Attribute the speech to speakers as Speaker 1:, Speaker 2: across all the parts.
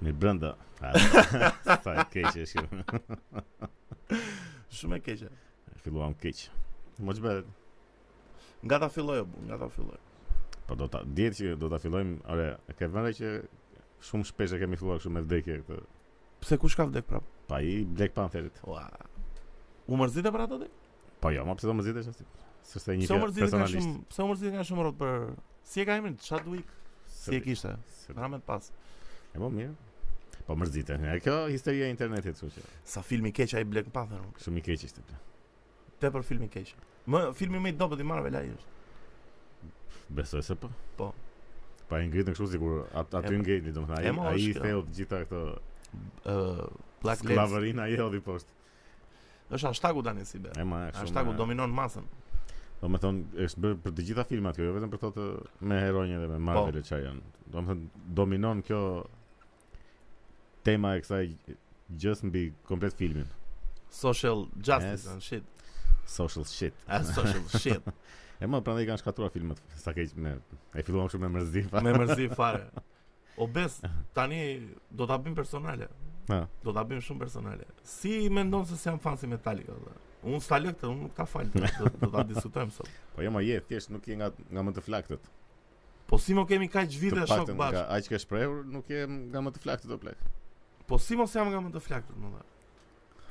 Speaker 1: brenda. Sa keq është kjo.
Speaker 2: Shumë e keqe.
Speaker 1: Filluam keq.
Speaker 2: Mos bëhet. Nga ta filloj, o bu, nga ta filloj.
Speaker 1: Po do ta dihet që do ta fillojmë, ore, e ke vënë re që shumë shpesh e kemi filluar kështu me vdekje këtë.
Speaker 2: Pse kush ka vdek prap?
Speaker 1: Pa i Black Pantherit.
Speaker 2: Ua. U mërzite për ato dek?
Speaker 1: Po jo, ma pse do mërzitesh ashtu? Sepse një
Speaker 2: Pse u
Speaker 1: fjalë
Speaker 2: mërzite ka
Speaker 1: personalisht.
Speaker 2: shumë, pse u mërzite ka shumë rrot për Si e ka emrin? Chadwick? Si e
Speaker 1: Se-
Speaker 2: kishte?
Speaker 1: se-
Speaker 2: Ramet pas.
Speaker 1: E po mirë. Po mërzite. E kjo historia e internetit, kështu që
Speaker 2: Sa filmi keq ai Black Panther. unë.
Speaker 1: shumë i keq ishte.
Speaker 2: Tepër filmi keq. Më filmi më i dobët i Marvel ai është.
Speaker 1: Besoj se po.
Speaker 2: Po.
Speaker 1: Pa e ngritën kështu sikur at, aty
Speaker 2: E-
Speaker 1: ngeli, domethënë
Speaker 2: e
Speaker 1: ai
Speaker 2: mo
Speaker 1: ai i
Speaker 2: është kjo.
Speaker 1: theu të gjitha këto
Speaker 2: Ë Black Lives.
Speaker 1: sklavërinë ai hodhi poshtë.
Speaker 2: Është hashtagu tani si be.
Speaker 1: E ma e
Speaker 2: Hashtagu
Speaker 1: shumë.
Speaker 2: dominon masën.
Speaker 1: Do me thonë, është bërë për të gjitha filmat kjo, jo vetëm për këto të me heronjë dhe me Marvel e që janë. Do me thonë, dominon kjo tema e kësaj gjës mbi komplet filmin.
Speaker 2: Social justice
Speaker 1: Yes.
Speaker 2: and shit.
Speaker 1: Social shit.
Speaker 2: A social shit.
Speaker 1: E më prandaj i kanë shkatruar filmat sa keq me e filluam shumë me mërzi. pa.
Speaker 2: Me mërzi fare. Obes, tani do ta bëjmë personale.
Speaker 1: Ha.
Speaker 2: Do ta bëjmë shumë personale. Si mendon se si jam fan si Metallica? Dhe? Unë s'ta lë këtë, unë nuk ta fal. Do, do ta diskutojmë sot.
Speaker 1: Po jo më je, thjesht nuk je nga nga më të flaktët.
Speaker 2: Po si mo kemi kaq vite
Speaker 1: Të
Speaker 2: shok
Speaker 1: paktën nga
Speaker 2: bash.
Speaker 1: aq që shprehur, nuk je nga më të flaktët o plak.
Speaker 2: Po si mos jam nga më të flaktët, më dhe.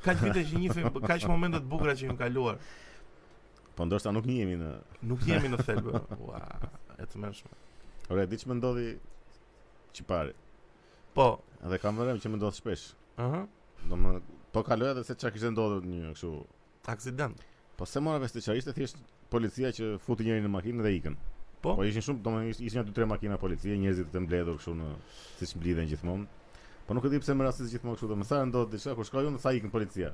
Speaker 2: Kaq vite që njihim, kaq momente të bukura që jemi kaluar.
Speaker 1: Po ndoshta nuk njihemi në
Speaker 2: Nuk jemi në thelbë. Ua, e të mërshme.
Speaker 1: Ore, di që më ndodhi çipari.
Speaker 2: Po,
Speaker 1: Edhe kam vënë që më ndodh shpesh.
Speaker 2: ëh,
Speaker 1: Do më po kaloj edhe se çka kishte ndodhur një kështu
Speaker 2: aksident.
Speaker 1: Po se mora vesh të qa, ishte thjesht policia që futi njërin në makinë dhe ikën.
Speaker 2: Po?
Speaker 1: Po ishin shumë, domethënë ishin- ishin aty tre makina policie, njerëzit të mbledhur kështu në siç mblidhen gjithmonë. Po nuk e di pse më rastis gjithmonë kështu, domethënë sa ndodh diçka kur shkoj unë sa ikën policia.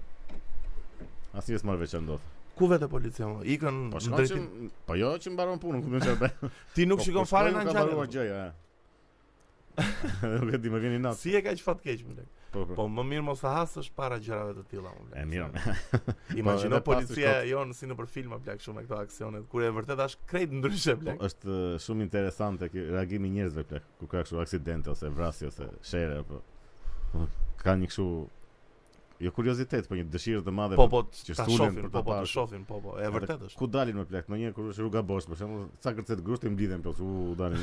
Speaker 1: Asnjë s'mor veç ndodh.
Speaker 2: Ku vetë policia më? Ikën
Speaker 1: Po
Speaker 2: në
Speaker 1: shkon që
Speaker 2: drejtin.
Speaker 1: po jo që mbaron punën, ku më çfarë bën. Po
Speaker 2: Ti nuk shikon fare në po.
Speaker 1: Ka mbaruar
Speaker 2: anxhalin.
Speaker 1: gjë, ja. Nuk e di, më vjen i natë.
Speaker 2: Si e kaq fatkeq më lek.
Speaker 1: Po, po.
Speaker 2: Po më mirë mos e hasësh para gjërave të tilla më lek.
Speaker 1: E mirë.
Speaker 2: Imagjino
Speaker 1: Po, edhe pas të
Speaker 2: policia jon si nëpër filma plak shumë me këto aksione, kur e vërtet është krejt ndryshe
Speaker 1: Po,
Speaker 2: plak.
Speaker 1: është eh, shumë interesante kjo reagimi i njerëzve plak, ku ka kështu aksidente ose vrasje ose shere apo po, ka një kështu jo kuriozitet, por një dëshirë të madhe.
Speaker 2: Po
Speaker 1: për-
Speaker 2: po
Speaker 1: që
Speaker 2: ta
Speaker 1: stulen
Speaker 2: shohin,
Speaker 1: për
Speaker 2: po
Speaker 1: ta
Speaker 2: po të
Speaker 1: parë.
Speaker 2: shohin, po po, e
Speaker 1: Edhe
Speaker 2: vërtet është.
Speaker 1: Ku dalin më plak? Ndonjë kur është rruga bosh, për shembull, sa kërcet grusht i mblidhen plot, u dalin.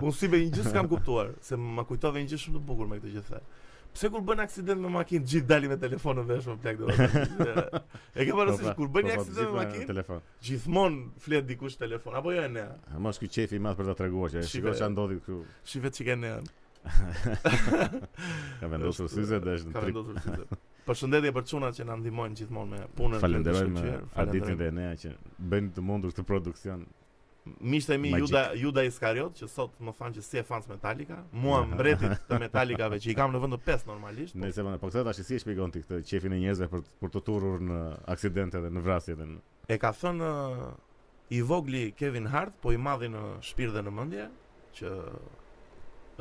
Speaker 2: Unë si be një gjë s'kam kuptuar, se ma kujtove një gjë shumë të bukur me këtë që the. Pse kur bën aksident me makinë, gjithë dalin me telefonën vesh po, me plak domethënë. E ke
Speaker 1: Po,
Speaker 2: parasysh
Speaker 1: po,
Speaker 2: kur bën
Speaker 1: po,
Speaker 2: një
Speaker 1: po,
Speaker 2: aksident me
Speaker 1: gjithmonë në
Speaker 2: makinë,
Speaker 1: telefon.
Speaker 2: gjithmonë flet dikush telefon, apo jo e ne.
Speaker 1: Ama është ky qefi i madh për ta treguar që e
Speaker 2: Shive.
Speaker 1: shikoj çfarë ndodhi këtu.
Speaker 2: Shi vetë çka ne.
Speaker 1: Ka vendosur syze dhe është
Speaker 2: Ka
Speaker 1: në trip.
Speaker 2: vendosur syze. Përshëndetje për çunat që na ndihmojnë gjithmonë me punën.
Speaker 1: Falenderojmë
Speaker 2: me
Speaker 1: Arditin dhe Enea që bëjnë të mundur këtë produksion.
Speaker 2: Miqtë e mi
Speaker 1: Magic.
Speaker 2: Juda Juda Iskariot që sot më thanë që si e fans Metallica, mua mbretit të Metallicave që i kam në vend të 5 normalisht, po,
Speaker 1: Nëse po këtë tash si e shpjegon ti këtë qefin e njerëzve për për të turur në aksidente dhe në vrasje dhe në
Speaker 2: e ka thënë ë, i vogli Kevin Hart, po i madhi në shpirt dhe në mendje që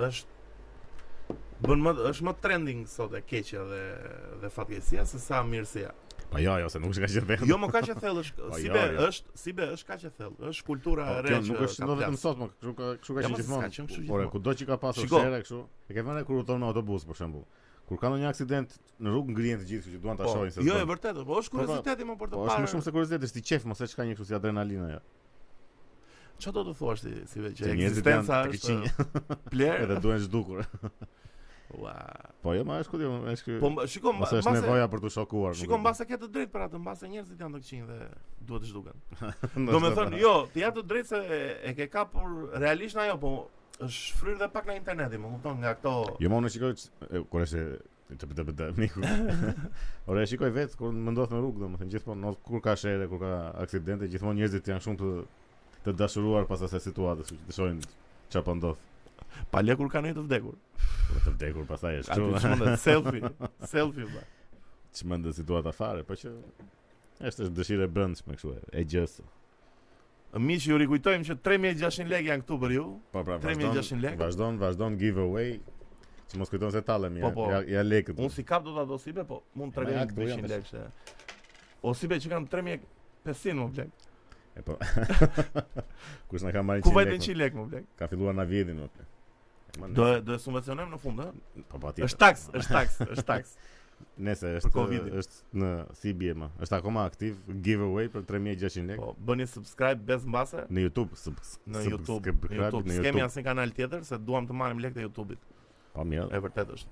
Speaker 2: është bën më është më trending sot e keqja dhe dhe fatkeqësia se sa mirësia.
Speaker 1: Po jo, jo, se nuk është kaq e thellë.
Speaker 2: Jo më kaq e thellë është,
Speaker 1: Po
Speaker 2: si
Speaker 1: jo,
Speaker 2: be
Speaker 1: jo.
Speaker 2: është, si be është kaq e thellë, është kultura
Speaker 1: Po,
Speaker 2: e re
Speaker 1: kjo
Speaker 2: që
Speaker 1: nuk është
Speaker 2: ka
Speaker 1: ndo vetëm
Speaker 2: plas.
Speaker 1: sot, më kështu ka kështu ka
Speaker 2: Ja,
Speaker 1: qenë
Speaker 2: mos s'ka qenë
Speaker 1: gjithmonë.
Speaker 2: kështu
Speaker 1: Por
Speaker 2: gjithmonë.
Speaker 1: kudo që ka pasur
Speaker 2: Shiko.
Speaker 1: shere kështu, e ke vënë kur udhton me autobus për shembull. Kur ka ndonjë aksident në rrugë ngrihen të gjithë që duan ta
Speaker 2: Po,
Speaker 1: shohin se.
Speaker 2: jo e
Speaker 1: s'bën.
Speaker 2: vërtetë, po është
Speaker 1: Po, po,
Speaker 2: kurioziteti më për
Speaker 1: Po
Speaker 2: të
Speaker 1: është
Speaker 2: parë.
Speaker 1: më shumë se kuriozitet, është i qef mos e çka një kështu si adrenalina jo. ja.
Speaker 2: Ço do të thuash ti si vetë që
Speaker 1: Që njerëzit
Speaker 2: ekzistenca
Speaker 1: janë të
Speaker 2: është pler
Speaker 1: Edhe duhen zhdukur.
Speaker 2: Ua.
Speaker 1: Po jo, ma është ku diun, është ky.
Speaker 2: Po mba- shiko mba-
Speaker 1: Ose është
Speaker 2: mbase
Speaker 1: nevoja për të shokuar. nuk
Speaker 2: shiko
Speaker 1: e di.
Speaker 2: mbase ke të drejtë për atë, mbase njerëzit janë të këqinj dhe duhet të zhduken.
Speaker 1: Ndoshta
Speaker 2: Do me thënë,
Speaker 1: po.
Speaker 2: jo, ti ja të drejtë se e, e ke kapur realisht ajo, po është shfryrë dhe pak në interneti, më kupton nga këto
Speaker 1: Jo më unë e shikoj që- e, kur është e- të bëtë bëtë miku. Ore e shikoj vetë kur më ndodh në rrugë domethënë gjithmonë no, kur ka shere, kur ka aksidente, gjithmonë njerëzit janë shumë të të dashuruar pas asaj situate, kështu që të shohin çfarë po ndodh.
Speaker 2: pa le kur kanë një të vdekur.
Speaker 1: Për të vdekur pastaj është
Speaker 2: Aty
Speaker 1: kështu.
Speaker 2: çmendet selfie, selfie vlla.
Speaker 1: Çmendë situata fare, po që është është dëshirë e brëndshme kështu e- e gjës.
Speaker 2: Miq, ju rikujtojmë që 3600 lekë janë këtu për ju.
Speaker 1: Po pra,
Speaker 2: 3600 lekë.
Speaker 1: Vazhdon, vazhdon giveaway. Që mos kujton se tallemi,
Speaker 2: Po,
Speaker 1: ja,
Speaker 2: po.
Speaker 1: ja, ja lekët.
Speaker 2: Unë si kap do ta dosibe, po mund
Speaker 1: E,
Speaker 2: të
Speaker 1: ma ja,
Speaker 2: tregoj
Speaker 1: këtu jam
Speaker 2: 300 lekë. se- O si be që kanë 3500 më blek.
Speaker 1: E po. Kush na ka marrë
Speaker 2: Ku
Speaker 1: 100
Speaker 2: vajtën
Speaker 1: lekë?
Speaker 2: 100 lekë më blek?
Speaker 1: Ka filluar na vjedhin më. Ma
Speaker 2: Do
Speaker 1: nese-
Speaker 2: do e subvencionojmë në fund, ë?
Speaker 1: Po pa
Speaker 2: Është taks, është taks, është taks.
Speaker 1: Nese
Speaker 2: për
Speaker 1: është
Speaker 2: Covidin.
Speaker 1: është në si bie më. Është akoma aktiv giveaway për 3600 lekë
Speaker 2: Po bëni subscribe bez mbase
Speaker 1: në YouTube, sub,
Speaker 2: në
Speaker 1: sub-
Speaker 2: YouTube.
Speaker 1: subscribe
Speaker 2: Në YouTube.
Speaker 1: në
Speaker 2: S'kemi
Speaker 1: YouTube.
Speaker 2: asnjë kanal tjetër se duam të marrim lekë të YouTube-it.
Speaker 1: Po mirë.
Speaker 2: E vërtet është.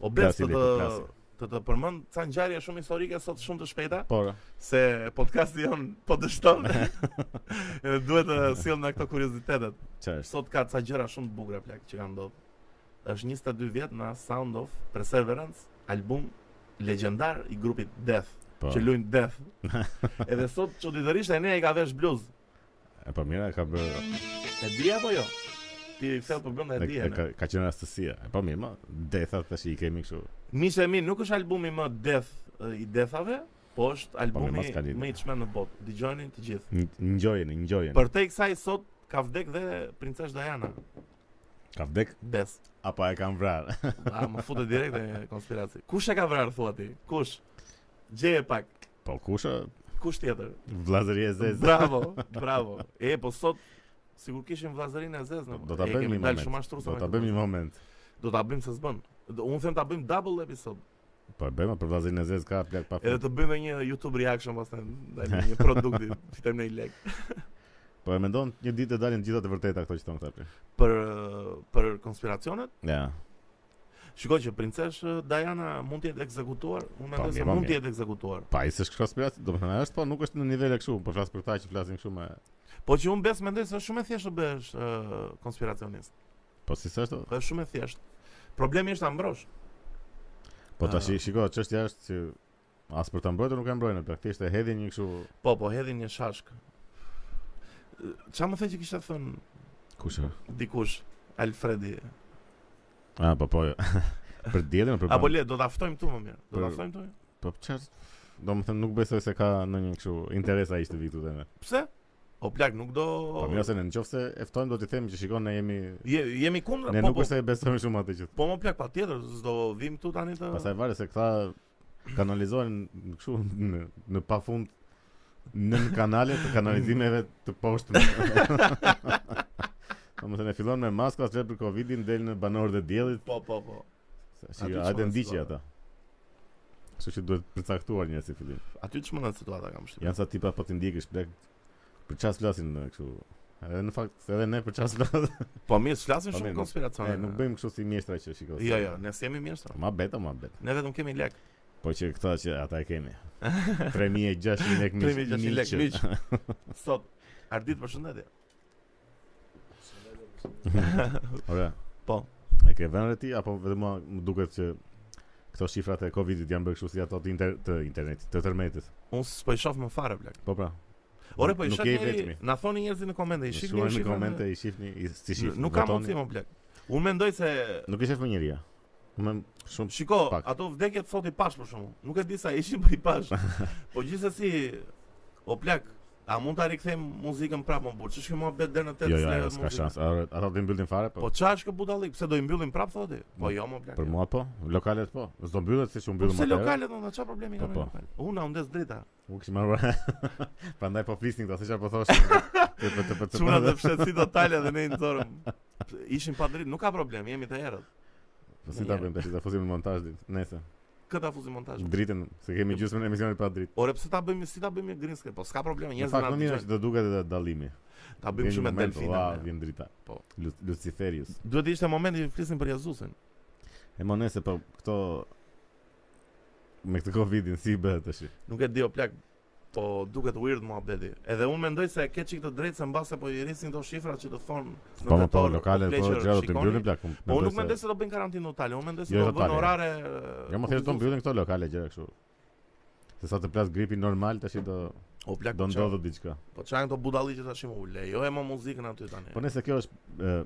Speaker 2: O bes
Speaker 1: Plasi
Speaker 2: të të
Speaker 1: leku, plasi.
Speaker 2: të të përmend ca ngjarje shumë historike sot shumë të shpejta
Speaker 1: Po. ra.
Speaker 2: se podcasti jon po dështon. Edhe duhet të sillim nga këto kuriozitetet.
Speaker 1: Çfarë është?
Speaker 2: Sot ka ca gjëra shumë të bukura plak që kanë ndodhur. Është 22 vjet na Sound of Perseverance, album legjendar i grupit Death,
Speaker 1: Po.
Speaker 2: që luajnë Death. Edhe sot çuditërisht Enea i ka vesh bluz.
Speaker 1: E po mirë e ka bërë
Speaker 2: E di apo jo? Ti flet për blonda
Speaker 1: e-
Speaker 2: e di.
Speaker 1: e ka ka qenë rastësia. E po mirë, më detha tash i kemi kështu.
Speaker 2: Miqë e mi, nuk është albumi më Death e, i Deathave, po është albumi
Speaker 1: mas ka lidhje.
Speaker 2: më i çmend në botë. Dëgjojeni të gjithë.
Speaker 1: N- Ngjojeni, ngjojeni.
Speaker 2: Për te i kësaj sot ka vdek dhe princesh Diana,
Speaker 1: Ka vdek
Speaker 2: bes.
Speaker 1: apo e kanë vrarë?
Speaker 2: A, më futë direkt e konspiraci. Kush e ka vrarë, thua ti? Kush? Gjeje pak.
Speaker 1: Po kush ë?
Speaker 2: Kush tjetër?
Speaker 1: Vllazëri e zezë.
Speaker 2: Bravo, bravo. E, po sot sigur kishim vllazërinë e zezë.
Speaker 1: Do ta bëjmë një moment.
Speaker 2: Shumë ashtru
Speaker 1: Do ta bëjmë një moment.
Speaker 2: Do ta bëjmë se s'bën. Do- Unë them ta bëjmë double episod.
Speaker 1: Po e bëjmë për vllazërin e zezë ka plak pa.
Speaker 2: Edhe
Speaker 1: fund.
Speaker 2: të bëjmë një YouTube reaction pastaj ndaj një produkti, fitojmë në lek.
Speaker 1: Po e mendon një ditë të dalin gjitha të vërteta këto që thon këta. plak.
Speaker 2: për për konspiracionet.
Speaker 1: Ja.
Speaker 2: Shikoj që princesh eh, Diana mund të jetë ekzekutuar, unë mendoj se
Speaker 1: mirë, po,
Speaker 2: mund të
Speaker 1: mirë.
Speaker 2: jetë ekzekutuar.
Speaker 1: Pa, i s'është konspiratë, do më thënë, është po nuk është në nivele kështu, po flasë për ta që flasin kështu me...
Speaker 2: Po që unë bes mendoj se është shumë e thjeshtë të bëhesh eh, konspiracionist.
Speaker 1: Po si s'është,
Speaker 2: Po është shumë e thjeshtë. Problemi është ta mbrosh.
Speaker 1: po ta
Speaker 2: Ah.
Speaker 1: shi, shiko, çështja është që as për ta mbrojtur nuk e mbrojnë, praktikisht e hedhin një kështu,
Speaker 2: Po, po hedhin një shashk. Qa më the që kisha thënë
Speaker 1: kush e?
Speaker 2: dikush Alfredi?
Speaker 1: Ah, po po. jo. për dielën për.
Speaker 2: Apo
Speaker 1: ban-
Speaker 2: po, le, do ta ftojmë tu më mirë. Do ta
Speaker 1: Për-
Speaker 2: ftojmë tu?
Speaker 1: Po çfarë? Do më thënë nuk besoj se ka ndonjë kështu interes ai të vi këtu tani.
Speaker 2: Pse? O plak, nuk do...
Speaker 1: Po mirë se në nëse e ftojmë do t'i themi që shikon ne jemi
Speaker 2: Je, jemi kundra,
Speaker 1: ne
Speaker 2: po,
Speaker 1: nuk
Speaker 2: po,
Speaker 1: është se e besojmë shumë atë që.
Speaker 2: po më plak pa tjetër, s'do vim tu tani të...
Speaker 1: Pastaj varet se këta kanalizohen kështu në, në pafund nën kanale të kanalizimeve të poshtme. Domethënë e fillon me maska, flet për Covidin, del në banorët e diellit,
Speaker 2: Po, po, po.
Speaker 1: si
Speaker 2: Aty
Speaker 1: hajde
Speaker 2: çfarë
Speaker 1: ndiqi
Speaker 2: s'ka?
Speaker 1: ata. Kështu që duhet përcaktuar një si fillim.
Speaker 2: Aty që më në situata kam shtypë.
Speaker 1: Janë sa tipa po ti ndjekësh blek për çfarë flasin në kështu. Edhe në fakt edhe ne për çfarë flasim.
Speaker 2: Po mirë, s'flasim
Speaker 1: Po,
Speaker 2: shumë
Speaker 1: mirë, nuk-
Speaker 2: konspiracione.
Speaker 1: Ne nuk bëjmë kështu si mjeshtra që shikoj.
Speaker 2: Jo, jo, ne s'jemi mirë sa.
Speaker 1: Ma beta, ma beta.
Speaker 2: Ne vetëm kemi lek.
Speaker 1: Po që këta që ata e kemi. 3600 lek miq.
Speaker 2: 3600 lek
Speaker 1: miq.
Speaker 2: miq. Sot Ardit përshëndetje.
Speaker 1: Ora.
Speaker 2: Po.
Speaker 1: E ke vënë re ti apo vetëm mua më duket që këto shifrat e Covidit janë bërë kështu si ato të, inter të internetit, të tërmetit.
Speaker 2: Unë s'po i shoh më fare plak.
Speaker 1: Po pra.
Speaker 2: Ore po i
Speaker 1: Nuk
Speaker 2: shoh
Speaker 1: je i
Speaker 2: njëri,
Speaker 1: vetmi.
Speaker 2: na thoni njerëzit në komente, i shihni
Speaker 1: Shkruani në komente i shifni, i si shifni.
Speaker 2: Nuk ka
Speaker 1: votoni.
Speaker 2: mundësi po. më plak. Unë mendoj se
Speaker 1: Nuk e shef më njeria. Më shumë
Speaker 2: Shiko,
Speaker 1: Pak.
Speaker 2: ato vdekjet sot i pash për shkakun. Nuk e di sa ishin për i pash. Po gjithsesi o plak, a mund ta rikthejmë muzikën prapë më burr? Ç'është kjo mohabet deri në 8
Speaker 1: Jo, jo, jo, s'ka shans. Ora, Ata të mbyllin fare, po.
Speaker 2: Po çfarë është kjo budallik? Pse do i mbyllim prapë thotë? Po jo më plak.
Speaker 1: Për mua po, lokalet po. S'do mbyllet siç u
Speaker 2: Po
Speaker 1: mbyllën
Speaker 2: pse
Speaker 1: më herët.
Speaker 2: lokalet ndonë, çfarë problemi
Speaker 1: Po,
Speaker 2: kanë
Speaker 1: po.
Speaker 2: lokalet? Unë undes drita.
Speaker 1: U kishim marrë. Prandaj po flisnin këta, se çfarë po thoshin. Te po te po te.
Speaker 2: Çuna të fshetësi totale dhe ne i nxorëm. Ishin pa dritë, nuk ka problem, jemi të erët.
Speaker 1: Po si ta bëjmë tash, ta fusim në montazh ditë. Nëse
Speaker 2: Këta fuzi montazh.
Speaker 1: dritën, se kemi gjysmën e emisionit pa dritë.
Speaker 2: Ore pse ta bëjmë si ta bëjmë green screen? Po s'ka problem,
Speaker 1: Në
Speaker 2: njerëzit
Speaker 1: fakt
Speaker 2: na
Speaker 1: më mirë është
Speaker 2: dëgjojnë.
Speaker 1: do duket edhe dallimi.
Speaker 2: Ta bëjmë shumë me delfina.
Speaker 1: Ua,
Speaker 2: ne.
Speaker 1: vjen drita. Po.
Speaker 2: Po.
Speaker 1: Luciferius.
Speaker 2: Duhet të ishte momenti që flisim për Jezusin.
Speaker 1: E mo nëse po këto me këtë Covidin si bëhet tash?
Speaker 2: Nuk e di o plak, po duket weird muhabeti. Edhe unë mendoj se ke çik të drejtë se mbase po i rrisin këto shifra që të thonë në
Speaker 1: Po më po
Speaker 2: tetor,
Speaker 1: lokalet po
Speaker 2: pleqër,
Speaker 1: gjëra të
Speaker 2: shikoni.
Speaker 1: mbyllin plak.
Speaker 2: Po unë nuk mendoj se do bëjnë karantinë totale, unë mendoj se
Speaker 1: Jo,
Speaker 2: do
Speaker 1: totale,
Speaker 2: bëjnë
Speaker 1: jo.
Speaker 2: po orare.
Speaker 1: Jo, më thjesht do mbyllin këto lokale gjëra kështu. Se sa të plas gripi normal tash do
Speaker 2: O plak,
Speaker 1: do
Speaker 2: po qa-
Speaker 1: ndodhë diçka.
Speaker 2: Po çan këto budalli që tash më u lejo e më muzikën aty tani.
Speaker 1: Po nëse kjo është e,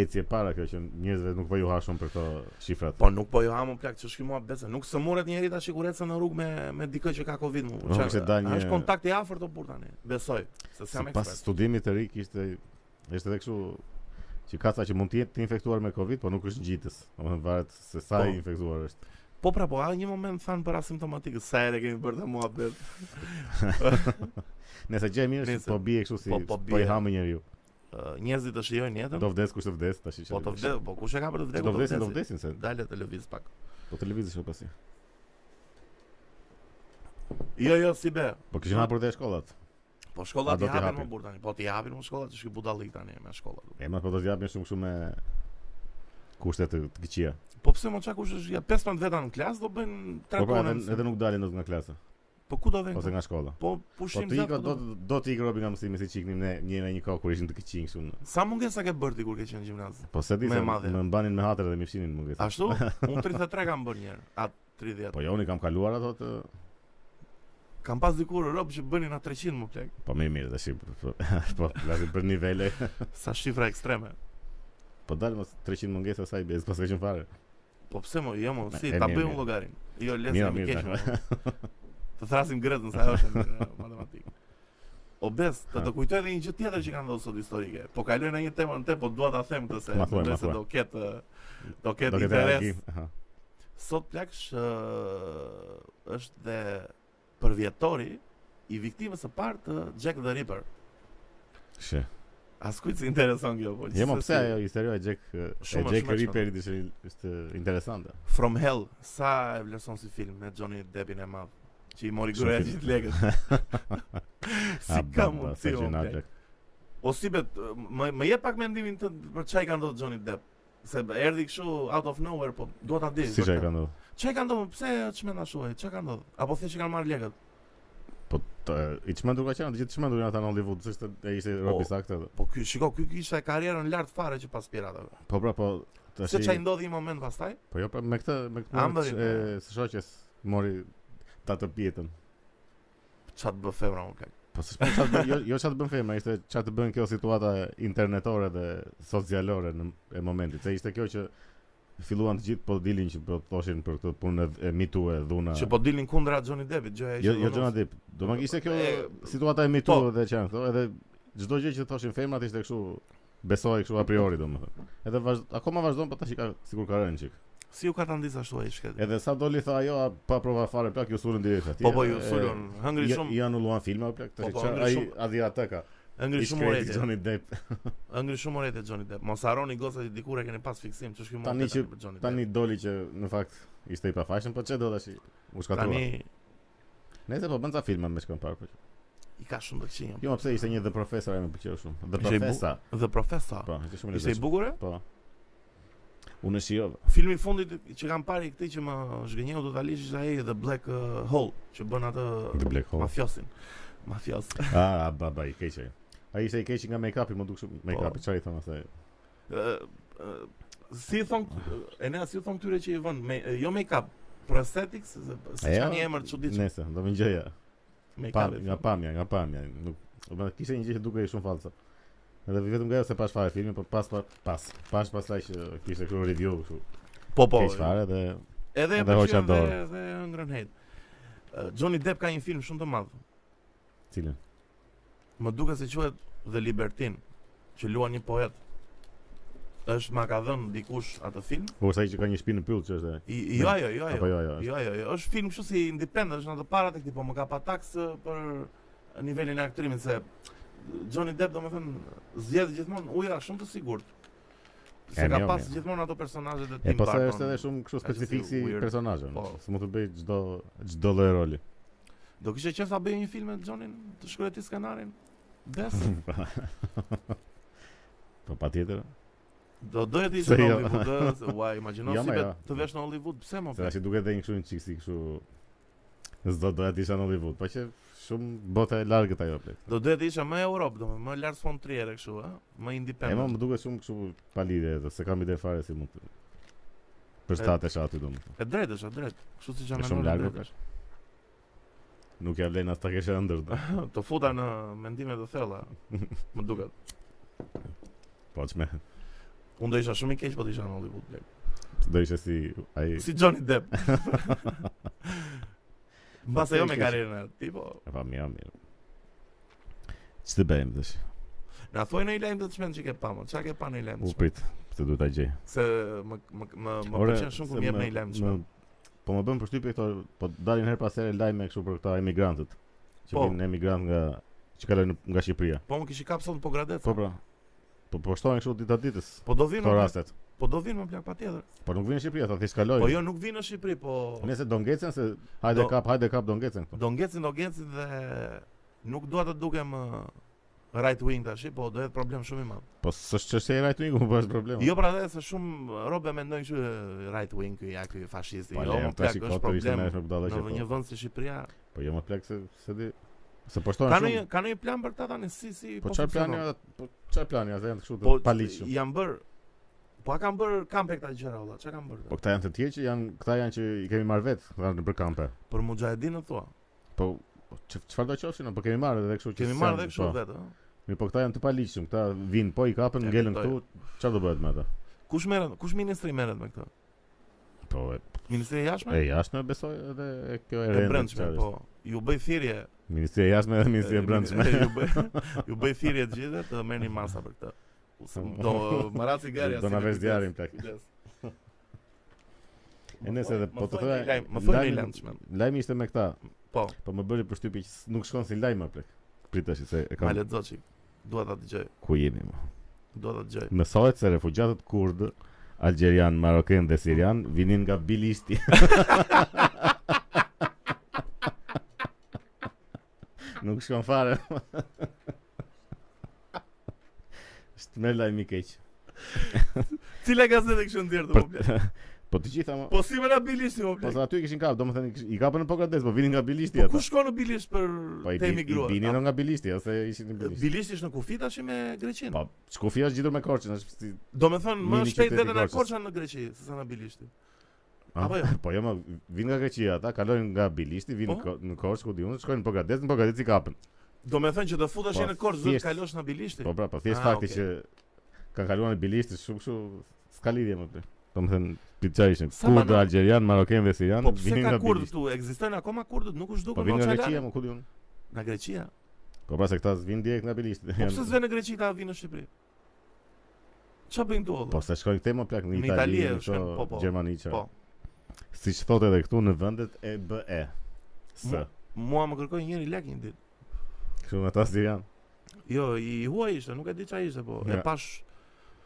Speaker 1: eci e para kjo që njerëzve nuk po ju hashon për këto shifrat.
Speaker 2: Po nuk po jo hamun plak, ç'është ky muhabet se nuk sëmuret njëri tash sigurisë në rrugë me me dikë që ka Covid më.
Speaker 1: Po, kishte dalë një-
Speaker 2: Është kontakt i afërt o burr tani. Besoj, se s'jam
Speaker 1: Pas
Speaker 2: ekspert.
Speaker 1: studimit të ri kishte ishte edhe kështu që ka ca që mund të jetë të infektuar me Covid, po nuk është ngjitës. Domethënë varet se sa i
Speaker 2: Po.
Speaker 1: infektuar është.
Speaker 2: Po pra po, a një moment than për asimptomatikë, sa herë kemi bërë të muhabet.
Speaker 1: Nëse gjë e mirë
Speaker 2: Nëse-
Speaker 1: është po bie kështu si
Speaker 2: po-
Speaker 1: po,
Speaker 2: po
Speaker 1: i
Speaker 2: bie.
Speaker 1: ha me njeriu.
Speaker 2: ë, njerëzit të shijojnë jetën.
Speaker 1: Do vdes kush të vdes tash që.
Speaker 2: Po të vdes, po kush e ka për të
Speaker 1: Kush
Speaker 2: vdekur?
Speaker 1: Do vdesin,
Speaker 2: të
Speaker 1: do vdesin se.
Speaker 2: Dale të lëviz pak.
Speaker 1: Po televizi shoh pasi.
Speaker 2: Jo, jo, si be.
Speaker 1: Po kishin hapur dhe shkollat.
Speaker 2: Po
Speaker 1: A
Speaker 2: shkollat
Speaker 1: do
Speaker 2: i
Speaker 1: t'i
Speaker 2: hapin
Speaker 1: hapin?
Speaker 2: më burr tani. Po ti hapin më shkollat, është ky budallik tani me shkollat.
Speaker 1: E ma po do të japin shumë kështu me kushte të, të këqija.
Speaker 2: Po pse më çka kush është ja 15 veta në klasë do bëjnë
Speaker 1: Po
Speaker 2: tre
Speaker 1: pra edhe,
Speaker 2: tonë. mësim.
Speaker 1: edhe nuk dalin dot nga klasa
Speaker 2: Po ku do
Speaker 1: ose
Speaker 2: vënë?
Speaker 1: nga shkolla.
Speaker 2: Po
Speaker 1: Po
Speaker 2: pushim
Speaker 1: ti
Speaker 2: zak,
Speaker 1: do
Speaker 2: po
Speaker 1: do do ti ikë robi nga mësimi si çiknim ne një në një kohë kur ishin të këqij kështu. në-
Speaker 2: Sa mungesa ke bërë ti kur ke qenë në gjimnaz?
Speaker 1: Po se di
Speaker 2: Me
Speaker 1: se
Speaker 2: madhe.
Speaker 1: më mbanin me hatër dhe më fshinin më vetë.
Speaker 2: Ashtu? Unë 33 kam bërë një herë. Atë 30.
Speaker 1: Po jo, unë i kam kaluar ato të
Speaker 2: Kam pas dikur rob që bënin atë 300 më plek.
Speaker 1: Po më mirë tash. Po, po lazi për nivele.
Speaker 2: Sa shifra ekstreme.
Speaker 1: Po dal mos 300 mungesa sa i bez, pas ka qenë fare.
Speaker 2: Po pse më, jo më, si
Speaker 1: E,
Speaker 2: ta
Speaker 1: mirë,
Speaker 2: bëjmë
Speaker 1: mirë.
Speaker 2: llogarin. Jo, le të
Speaker 1: Mirë,
Speaker 2: kemi
Speaker 1: mirë,
Speaker 2: keq. më. Të thrasim gretën sa ajo është në matematikë. Obes, të të kujtoj edhe një gjë tjetër që ka ndodhur sot historike. Po kaloj në një temë në te, po dua ta them këtë se
Speaker 1: Ma thuaj, ma
Speaker 2: mendoj se
Speaker 1: thuaj.
Speaker 2: do ketë do
Speaker 1: Do
Speaker 2: ketë
Speaker 1: ketë
Speaker 2: interes.
Speaker 1: reagim. Aha.
Speaker 2: Sot plaksh ë, është dhe përvjetori i viktimës së parë të Jack the Ripper.
Speaker 1: She.
Speaker 2: Askujt si intereson kjo, po.
Speaker 1: Jo, më
Speaker 2: gjithsesi,
Speaker 1: pse ajo historia e Jack e
Speaker 2: Shumë,
Speaker 1: Jack
Speaker 2: shumë e
Speaker 1: Ripperit ishte ishte interesante.
Speaker 2: From Hell, sa e vlerëson si film me Johnny Deppin e madh, që i mori
Speaker 1: Shumë
Speaker 2: gruaja
Speaker 1: film.
Speaker 2: gjithë legët. si
Speaker 1: A,
Speaker 2: ka
Speaker 1: bamba,
Speaker 2: mundësi
Speaker 1: sa
Speaker 2: o
Speaker 1: gjinat,
Speaker 2: plak.
Speaker 1: Jack.
Speaker 2: O si bet, më, më jep pak mendimin të për çaj ka ndodhur Johnny Depp. Se bë- erdhi kështu out of nowhere, po dua ta di.
Speaker 1: Si që e ka ndodhur?
Speaker 2: Çaj ka ndodhur? Pse çmenda shuaj? Çka ka ndodhur? Apo thjesht që kanë marrë legët?
Speaker 1: Po të- i çmendur ka qenë, të gjithë çmendur janë ata në Hollywood, s'është e ishte robi
Speaker 2: Po.
Speaker 1: saktë. edhe.
Speaker 2: Po ky, shiko, ky kishte karrierën lart fare që pas piratave.
Speaker 1: Po pra, po tash.
Speaker 2: Se çaj ndodhi një moment pastaj?
Speaker 1: Po jo, pra me këtë me
Speaker 2: Amberin,
Speaker 1: këtë e së shoqes mori ta të pjetën.
Speaker 2: Ça të bë femra më plak.
Speaker 1: Po s'është për çfarë bën- jo jo çfarë të bën femra, ishte çfarë të bën kjo situata internetore dhe socialore në e momentit. Se ishte kjo që filluan të gjithë po dilin që po thoshin për këtë punë e- e mitu e dhuna.
Speaker 2: Që po dilnin kundra Johnny Deppit, gjëja e
Speaker 1: Ah. Jo,
Speaker 2: që
Speaker 1: jo
Speaker 2: dënon-
Speaker 1: Johnny Depp. Do më ishte kjo
Speaker 2: E,
Speaker 1: situata e Me
Speaker 2: po.
Speaker 1: Too dhe çan, thonë, edhe çdo gjë që thoshin femrat ishte kështu besoj kështu a priori domethënë. Edhe vazh, akoma vazhdon po tash i ka sigur ka rënë çik.
Speaker 2: Si u ka ta ndis ashtu ai shket?
Speaker 1: Edhe sa doli tha ajo a, pa prova fare plak ju sulën direkt atje.
Speaker 2: Po po ju
Speaker 1: e,
Speaker 2: sulon, hëngri
Speaker 1: ja-
Speaker 2: shumë,
Speaker 1: I anulluan filma plak
Speaker 2: Po,
Speaker 1: tash
Speaker 2: po,
Speaker 1: çan
Speaker 2: hëngri
Speaker 1: ai
Speaker 2: shumë.
Speaker 1: Adriateka. I
Speaker 2: hëngri shumë
Speaker 1: shkreti
Speaker 2: urrejtë.
Speaker 1: Johnny Depp.
Speaker 2: Hëngri shumë urrejtë Johnny Depp. Mos harroni goca që dikur e keni pas fiksim, ç'është
Speaker 1: Tani
Speaker 2: ky
Speaker 1: që-
Speaker 2: moment tani për Johnny Depp.
Speaker 1: Tani doli që në fakt ishte i pafajshëm, po çe do tash i- u shkatrua.
Speaker 2: Tani
Speaker 1: Nëse po bën ca filma me shkon parku.
Speaker 2: i ka shumë të këqija.
Speaker 1: Jo, pse ishte një dhe profesor e më pëlqeu shumë. Dhe
Speaker 2: Ishte i bu-
Speaker 1: profesa.
Speaker 2: The Professor.
Speaker 1: Po, ishte shumë
Speaker 2: Ishte i
Speaker 1: lezetshëm.
Speaker 2: bukur? e?
Speaker 1: Po. Unë e shijova.
Speaker 2: Filmi i fundit që kam parë i këtë që më zhgënjeu do ta lish ishte ai The Black uh, Hole, që bën atë
Speaker 1: The Black Hole.
Speaker 2: mafiosin. Mafios.
Speaker 1: Ah, a, baba i keq. ai. Ai ishte i keq nga make-upi, më duk
Speaker 2: Po.
Speaker 1: shumë make-upi. Çfarë i thon asaj?
Speaker 2: Ë, ë, si thon e ne si thon këtyre që i vën me, jo make up prosthetics se se
Speaker 1: E, jo,
Speaker 2: kanë një emër çuditshëm
Speaker 1: Nëse, do më ngjeja.
Speaker 2: make
Speaker 1: Pa,
Speaker 2: up
Speaker 1: nga pamja, nga pamja. Nuk, do më kishte një gjë që dukej shumë falsa. Edhe vetëm nga ajo se pash fare filmin, por pas pas pas pas pastaj që kishte kërë review kështu.
Speaker 2: po po
Speaker 1: keq fare dhe
Speaker 2: edhe e
Speaker 1: Edhe hoqja
Speaker 2: pëlqen dhe
Speaker 1: dorë.
Speaker 2: dhe ngrën hejt Ë, Johnny Depp ka një film shumë të madh
Speaker 1: cilën.
Speaker 2: më duket se quhet The Libertin që luan një poet është ma ka dhënë dikush atë film
Speaker 1: Po sa i që ka një shtëpi në pyll që është. e-
Speaker 2: I, jo ajo, jo
Speaker 1: Apo
Speaker 2: ajo.
Speaker 1: jo, jo. është-
Speaker 2: Jo ajo, jo. Është film kështu si independent, është në të parat e këtij, po më ka pa taksë për nivelin e aktorimit se Johnny Depp domethënë zgjedh gjithmonë uja shumë të sigurt. Se
Speaker 1: E,
Speaker 2: ka
Speaker 1: mirë,
Speaker 2: pas
Speaker 1: mirë.
Speaker 2: gjithmonë ato personazhet e
Speaker 1: E
Speaker 2: Tim
Speaker 1: po
Speaker 2: Burton.
Speaker 1: sa është edhe shumë kështu
Speaker 2: Ashtu si
Speaker 1: specifik si
Speaker 2: weird.
Speaker 1: personazhe.
Speaker 2: Po.
Speaker 1: S'mund të bëj çdo çdo lloj roli.
Speaker 2: Do kishte qenë sa bëj një film me Johnny, të shkruaj ti skenarin. Bes.
Speaker 1: Po patjetër.
Speaker 2: Do dohet të
Speaker 1: Se
Speaker 2: ishte në
Speaker 1: jo.
Speaker 2: Hollywood, ë, se, ua, imagjino
Speaker 1: Jo,
Speaker 2: si
Speaker 1: ma,
Speaker 2: bet
Speaker 1: jo.
Speaker 2: të vesh në Hollywood, pse më?
Speaker 1: Se tash i duket edhe një kështu një çik si kështu s'do doja të isha në Hollywood, po që shumë botë e largët ajo plek.
Speaker 2: Do dohet të isha më Europë, domethënë më Lars von Trier e kështu, ë, më
Speaker 1: E më
Speaker 2: independent.
Speaker 1: më duket shumë kështu pa lidhje, edhe se kam ide fare si mund të përshtatesh aty domethënë.
Speaker 2: E drejtë është, e drejtë. Kështu siç
Speaker 1: E
Speaker 2: janë
Speaker 1: shumë largë,
Speaker 2: drejtë.
Speaker 1: Nuk ja vlen as ta kesh ëndër. do.
Speaker 2: Të futa në mendime të thella, më duket.
Speaker 1: Po çme,
Speaker 2: Unë do isha shumë i keq po të isha në Hollywood blek.
Speaker 1: do ishte si ai
Speaker 2: Si Johnny Depp. Mbas
Speaker 1: Po,
Speaker 2: ajo
Speaker 1: i
Speaker 2: me
Speaker 1: keq.
Speaker 2: karrierën e tij, po.
Speaker 1: e pa mirë, mirë. Ç'të bëjmë tash?
Speaker 2: Na thuaj në një lajm të çmend që ke pa më. Çka ke pa në një lajm?
Speaker 1: U
Speaker 2: të çmend?
Speaker 1: prit, se duhet ta gjej.
Speaker 2: Se më më më, më
Speaker 1: Ore,
Speaker 2: pëlqen shumë kur
Speaker 1: se
Speaker 2: më jep
Speaker 1: më-
Speaker 2: në një lajm të
Speaker 1: më-
Speaker 2: çmend.
Speaker 1: Po më bën përshtypje këto, po dalin her pas here lajme kështu për këta emigrantët. Që
Speaker 2: Po.
Speaker 1: vinë emigrant nga që kalojnë nga Shqipëria.
Speaker 2: Po më kishi kap sot po gradet.
Speaker 1: Po pra. Po po shtohen kështu dita ditës.
Speaker 2: Po do vinë,
Speaker 1: Këto
Speaker 2: më plak-
Speaker 1: rastet.
Speaker 2: po do vinë më plak patjetër.
Speaker 1: Po nuk vjen në Shqipëri, ata thjesht kalojnë.
Speaker 2: Po jo nuk vinë në Shqipëri, po
Speaker 1: Nëse do ngecen se hajde
Speaker 2: Do-
Speaker 1: kap, hajde kap do ngecen këtu.
Speaker 2: do ngecin, do ngecin dhe nuk dua të dukem ë, right wing tash, po do jetë problem shumë i madh.
Speaker 1: Po s'është çështje e rajtuiku, po është problem.
Speaker 2: Jo pra dhe se shumë robe mendojnë që ë, right wing ky ja ky fashisti.
Speaker 1: po
Speaker 2: Jo,
Speaker 1: le,
Speaker 2: më
Speaker 1: tash
Speaker 2: plak
Speaker 1: i
Speaker 2: është
Speaker 1: kotë ishte
Speaker 2: problem
Speaker 1: nesh nuk dallë
Speaker 2: në
Speaker 1: që.
Speaker 2: një vend si Shqipëria.
Speaker 1: po. Po jo më plak se se di. Se po shtohen
Speaker 2: Ka një
Speaker 1: shumë.
Speaker 2: ka një plan për ta tani si si
Speaker 1: Po çfarë plani,
Speaker 2: funksionon?
Speaker 1: ata- po çfarë plani ata janë kështu të
Speaker 2: Po
Speaker 1: paligjshëm.
Speaker 2: janë bër Po a kanë bër kampe këta gjëra valla, çka kanë bër?
Speaker 1: Po këta janë të tjerë që janë këta janë që i kemi marrë vetë, këta janë për kampe.
Speaker 2: Për Mujahedin thua.
Speaker 1: Po që- çfarë do qofshin, po kemi marrë edhe kështu që
Speaker 2: Kemi
Speaker 1: s'janë,
Speaker 2: marrë dhe kështu
Speaker 1: po.
Speaker 2: vetë, ëh.
Speaker 1: Mirë, po këta janë të paligjshëm, këta vinë, po i kapën,
Speaker 2: E,
Speaker 1: ngelen
Speaker 2: kuptoj.
Speaker 1: këtu, çfarë do bëhet me ata?
Speaker 2: Kush merret? Kush ministri merret me këtë?
Speaker 1: Po e,
Speaker 2: Ministri i jashtëm?
Speaker 1: e jashtme besoj edhe e kjo e
Speaker 2: Po. E
Speaker 1: rendit.
Speaker 2: brendshme, po. Ju bëj thirrje.
Speaker 1: Ministria e jashtme dhe ministria e brendshme.
Speaker 2: Ju bëj ju bëj thirrje të gjithëve të merrni masa për këtë. Us- Do marra cigare
Speaker 1: Do na vesh djarin, plak. E nëse edhe po të thoya,
Speaker 2: më thoj
Speaker 1: lajmi-
Speaker 2: një lëndshme.
Speaker 1: Lajmi ishte me këta.
Speaker 2: Po.
Speaker 1: Po më bëri përshtypje që s- nuk shkon si lajm apo. Pritesh se e
Speaker 2: Ma
Speaker 1: kam
Speaker 2: lexo çik. Dua ta dëgjoj.
Speaker 1: ku jemi më.
Speaker 2: Dua ta dëgjoj.
Speaker 1: Mësohet se refugjatët kurd, algerian, marokan dhe sirian vinin nga Bilisti. Nuk shkon fare. Është me lajmi keq.
Speaker 2: Cila gazete kishë nxjerrë të
Speaker 1: Për-
Speaker 2: publik?
Speaker 1: Po të gjitha më...
Speaker 2: Po si më na bilishi o
Speaker 1: Po
Speaker 2: plak.
Speaker 1: sa aty i kishin kap, domethënë i kish- i kapën në Pokrates, po vinin nga Bilisti
Speaker 2: Po
Speaker 1: ata.
Speaker 2: ku shkon në bilish për
Speaker 1: Po i
Speaker 2: të
Speaker 1: bin- i
Speaker 2: emigruar?
Speaker 1: binin
Speaker 2: A-
Speaker 1: edhe nga Bilisti, ose ishin në Bilisti.
Speaker 2: Bilish është në kufi tash me Greqinë.
Speaker 1: Po, Shkufia është gjitur me Korçën, është si
Speaker 2: Do me thonë, më
Speaker 1: Mini
Speaker 2: shpejt
Speaker 1: qyteti
Speaker 2: vetën e
Speaker 1: Korçës.
Speaker 2: Korçën në Greqi, se sa në Bilishti.
Speaker 1: A,
Speaker 2: Apo jo?
Speaker 1: Po jo, më vinë nga Greqia ata, kalojnë nga Bilisti, vinë
Speaker 2: Po?
Speaker 1: ko- në Korçë ku diun, shkojnë në Pogradec, në Pogradec i kapën.
Speaker 2: Do me thënë që do futesh
Speaker 1: Po,
Speaker 2: në Korçë, do të
Speaker 1: thjesht-
Speaker 2: kalosh në Bilishti.
Speaker 1: Po pra, po thjesht
Speaker 2: Ah,
Speaker 1: fakti
Speaker 2: okay.
Speaker 1: që kanë kaluar në Bilisti shumë kështu s'ka lidhje më plot. Domethënë pica ishin
Speaker 2: Sa
Speaker 1: kurd,
Speaker 2: banan-
Speaker 1: algerian, marokan dhe sirian,
Speaker 2: Po pse
Speaker 1: vinin
Speaker 2: ka
Speaker 1: nga
Speaker 2: kurd
Speaker 1: Bilisti.
Speaker 2: këtu? Ekzistojnë akoma kurdët, nuk u
Speaker 1: Po
Speaker 2: zhdukën
Speaker 1: vinë
Speaker 2: në
Speaker 1: nga Greqia,
Speaker 2: Greqia.
Speaker 1: më ku diun.
Speaker 2: Në Greqia.
Speaker 1: Po pra se këta vinë direkt nga Bilisti.
Speaker 2: Po
Speaker 1: janë-
Speaker 2: pse s've në Greqi ta vinë në Shqipëri? Ç'a bëjnë këtu?
Speaker 1: Po
Speaker 2: valla?
Speaker 1: se shkojnë këtej më plak në
Speaker 2: Në
Speaker 1: Itali,
Speaker 2: Itali
Speaker 1: në
Speaker 2: e shkojnë, po, po.
Speaker 1: këto Gjermani çfarë.
Speaker 2: Po.
Speaker 1: Siç thotë edhe këtu në vendet e BE. S.
Speaker 2: Mu- Mua më kërkoi njëri lek një ditë.
Speaker 1: Kështu ata sirian.
Speaker 2: Jo, i huaj ishte, nuk e di ç'a ishte, po. E
Speaker 1: Ja.
Speaker 2: pash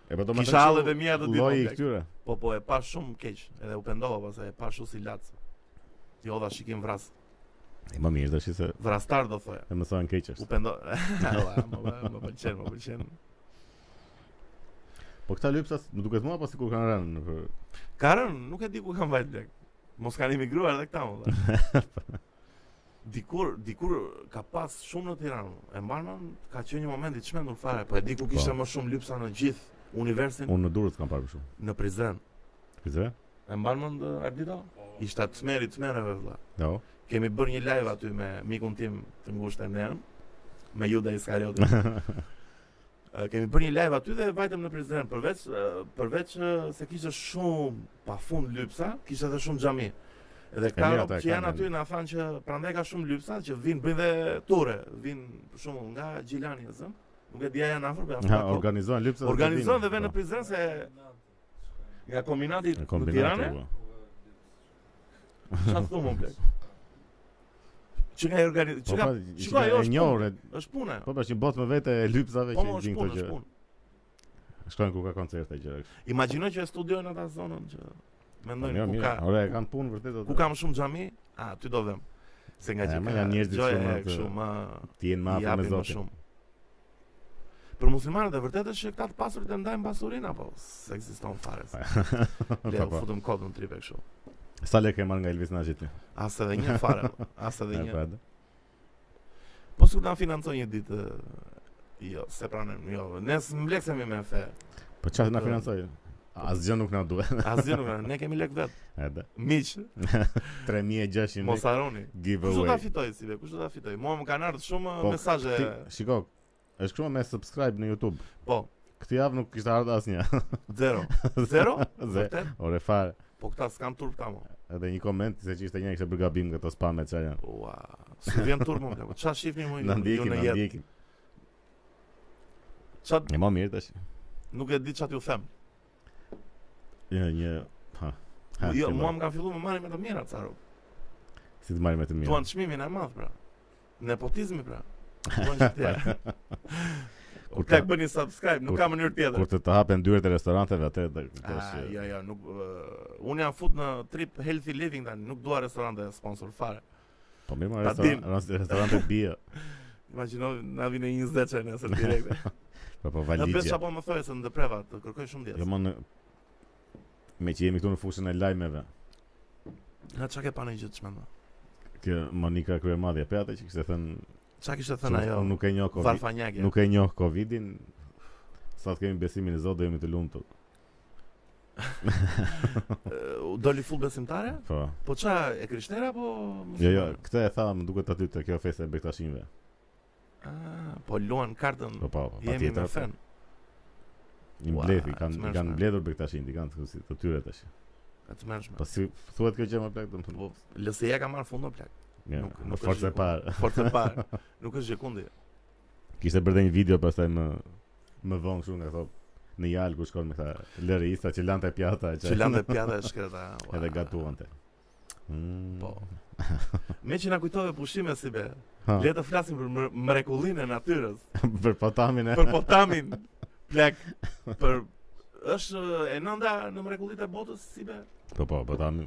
Speaker 1: E po do
Speaker 2: kisha alle dhe mia të ditë.
Speaker 1: lloji i
Speaker 2: o plak.
Speaker 1: këtyre.
Speaker 2: Po po, e pash shumë keq, edhe u pendova pastaj, e pash u si lac. Jo, dha shikim vras,
Speaker 1: E më mirë tash se
Speaker 2: vrastar do thoja.
Speaker 1: e më thonë keq
Speaker 2: U
Speaker 1: është.
Speaker 2: pendo. Ua, më më pëlqen, më pëlqen.
Speaker 1: Po këta lypsas, më duket mua pas sikur kanë rënë në për
Speaker 2: Ka rënë, nuk e di ku kanë vajt lek. Mos kanë emigruar edhe këta më dhe. Dikur, dikur ka pas shumë në Tiranë. E mbarman ka qenë një moment i çmendur fare, po e di ku kishte
Speaker 1: Po.
Speaker 2: më shumë lypsa në gjithë universin
Speaker 1: unë në Durrës kam parë më shumë.
Speaker 2: në Prizren.
Speaker 1: Kujtë?
Speaker 2: E mbarman Ardito? Ishte atë smeri të smereve vëlla.
Speaker 1: Jo.
Speaker 2: Kemi bërë një live aty me mikun tim të ngushtë e nërën, me Juda Iskariotin. Ë, Kemi bërë një live aty dhe vajtëm në Prizren, përveç, ë, përveç ë, se kishte shumë pa fund lypsa, kishte edhe shumë xhami. Edhe këta
Speaker 1: mirë,
Speaker 2: rob
Speaker 1: ata e
Speaker 2: që janë
Speaker 1: kanë,
Speaker 2: aty na thanë që prandaj ka shumë lypsa që vinë bëjnë dhe ture, vinë për shembull nga Gjilani e zëm. Nuk e di a janë afër, po
Speaker 1: Ha,
Speaker 2: afër.
Speaker 1: organizojnë lypsat.
Speaker 2: Organizon dhe vjen në Prizren se nga kombinati
Speaker 1: Në po.
Speaker 2: në Tiranë, çfarë thonë më blek? Çka e organiz...
Speaker 1: Po
Speaker 2: Çka
Speaker 1: pra,
Speaker 2: Shiko, ajo
Speaker 1: shikoj e
Speaker 2: është
Speaker 1: njohur. e-
Speaker 2: është puna.
Speaker 1: Po pra, që botë me vete e lypsave
Speaker 2: jo Po
Speaker 1: që
Speaker 2: më
Speaker 1: i
Speaker 2: është
Speaker 1: gjin
Speaker 2: punë,
Speaker 1: këto
Speaker 2: është
Speaker 1: gjë.
Speaker 2: punë.
Speaker 1: Shkojnë ku ka koncerte gjëra kështu.
Speaker 2: Imagjino që e studiojnë ata zonën që
Speaker 1: Po,
Speaker 2: mendojnë
Speaker 1: Mirë,
Speaker 2: ku
Speaker 1: mirë.
Speaker 2: ka
Speaker 1: Ore, e kanë punë vërtet
Speaker 2: ku
Speaker 1: ato.
Speaker 2: kam shumë xhami, a ty do vëm. Se nga
Speaker 1: E,
Speaker 2: që
Speaker 1: ma
Speaker 2: ka
Speaker 1: janë njerëzit
Speaker 2: gjoja
Speaker 1: shumë
Speaker 2: e
Speaker 1: atë-
Speaker 2: kështu më
Speaker 1: Ti jenë
Speaker 2: i
Speaker 1: mafi me
Speaker 2: japin më
Speaker 1: zotin.
Speaker 2: shumë. Për muslimanët e vërtetë është që këta të pasurit e ndajnë pasurinë apo se ekziston fare. se Le
Speaker 1: Po,
Speaker 2: u
Speaker 1: po.
Speaker 2: futëm kodën në tripe kështu.
Speaker 1: Sa lekë e marr nga Elvis Naxhi ti?
Speaker 2: As edhe një fare, po. as
Speaker 1: E,
Speaker 2: edhe
Speaker 1: po,
Speaker 2: një.
Speaker 1: edhe.
Speaker 2: Po sikur ta financoj një ditë e, jo, se pranojmë, jo, ne s'mbleksemi me fe.
Speaker 1: Po çfarë na financoj? Asgjë nuk na duhet.
Speaker 2: Asgjë nuk, ne kemi lek vet.
Speaker 1: Edhe
Speaker 2: Miq,
Speaker 1: 3600
Speaker 2: mos
Speaker 1: lek
Speaker 2: harroni. Kush do ta
Speaker 1: giveaway.
Speaker 2: fitoj si be? Kush do ta fitoj? Mua më kanë ardhur shumë
Speaker 1: Po,
Speaker 2: mesazhe.
Speaker 1: Ti, shiko, është kështu me subscribe në YouTube.
Speaker 2: Po,
Speaker 1: Këtë javë nuk kishte ardhur asnjë.
Speaker 2: zero. Zero?
Speaker 1: Ze,
Speaker 2: Vërtet?
Speaker 1: ore fare.
Speaker 2: Po këta s'kan turp këta mo.
Speaker 1: Edhe një koment se që ishte një kishte bërë gabim këto spam me çfarë janë.
Speaker 2: Ua, s'u vjen turp mo. bla, po Ç'a shihni më?
Speaker 1: Na ndjekin,
Speaker 2: ju
Speaker 1: na
Speaker 2: jetë?
Speaker 1: ndjekin.
Speaker 2: Ç'a
Speaker 1: E më mirë tash.
Speaker 2: nuk e di ç'a t'ju them.
Speaker 1: Një një ha. ha
Speaker 2: jo,
Speaker 1: si
Speaker 2: mua
Speaker 1: marr-
Speaker 2: më kanë filluar me marrin me të mira ca rob.
Speaker 1: si të marrim me të mirë.
Speaker 2: Duan çmimin e madh pra. Nepotizmi pra. Duan ç'të.
Speaker 1: Kur
Speaker 2: Plak
Speaker 1: të-
Speaker 2: bëni subscribe, nuk
Speaker 1: kur-
Speaker 2: ka mënyrë tjetër.
Speaker 1: Kur të të hapen dyert e restoranteve atë të
Speaker 2: Ah,
Speaker 1: tash
Speaker 2: jo, jo, nuk uh, unë jam fut në trip healthy living tani, nuk dua restorante sponsor fare.
Speaker 1: po mirë
Speaker 2: ta
Speaker 1: më
Speaker 2: dim.
Speaker 1: restorante restorante bie.
Speaker 2: Imagjino na vinë 20 çaj nesër direkte.
Speaker 1: Po po
Speaker 2: Në pesë
Speaker 1: validje.
Speaker 2: apo më thoj se në depreva, të kërkoj
Speaker 1: Jo
Speaker 2: shumë diet.
Speaker 1: më në me që jemi këtu në fushën e lajmeve.
Speaker 2: Na çka ke panë gjithë çmend.
Speaker 1: Kjo Monika Kryemadhja, pe atë që kishte thënë
Speaker 2: Çka kishte
Speaker 1: që
Speaker 2: thënë ajo?
Speaker 1: nuk e njoh Covid,
Speaker 2: Varfanjake.
Speaker 1: nuk e njoh Covidin. Sa të kemi besimin e Zotit do jemi të lumtur.
Speaker 2: Eh, u Doli full besimtare?
Speaker 1: Po.
Speaker 2: Po ç'a e krishtera apo
Speaker 1: Jo, jo,
Speaker 2: muslimane?
Speaker 1: këtë e tha, më duket aty te kjo festa e bektashinëve.
Speaker 2: Ah, po luan kartën.
Speaker 1: Po po, po,
Speaker 2: Jemi me
Speaker 1: patjetër.
Speaker 2: fen.
Speaker 1: Një
Speaker 2: Ua,
Speaker 1: mbledh, i kanë i
Speaker 2: s'merresh me.
Speaker 1: kanë mbledhur bektashin, i kanë të, si, të tyre tash.
Speaker 2: Atë mërshme.
Speaker 1: Po si thuhet kjo gjë më plak, domethënë.
Speaker 2: Po, lësia ka marrë fund në plak.
Speaker 1: Ja,
Speaker 2: nuk- nuk
Speaker 1: në forcë
Speaker 2: është
Speaker 1: e parë.
Speaker 2: Fortë e parë. Nuk është gjekundi.
Speaker 1: Kishte bërë një video pastaj më më vonë kështu nga ato në jal ku shkon me këta lërista që lante pjata e
Speaker 2: Që lanë dhe pjata e shkreta. ua.
Speaker 1: edhe gatuante. Mm.
Speaker 2: Po. Me që na kujtove pushime si be.
Speaker 1: Ha,
Speaker 2: Le të flasim për mre- mrekullinë e natyrës,
Speaker 1: për patamin e
Speaker 2: për potamin, plak, për është e nënda në mrekullitë e botës si be.
Speaker 1: Po po, patamin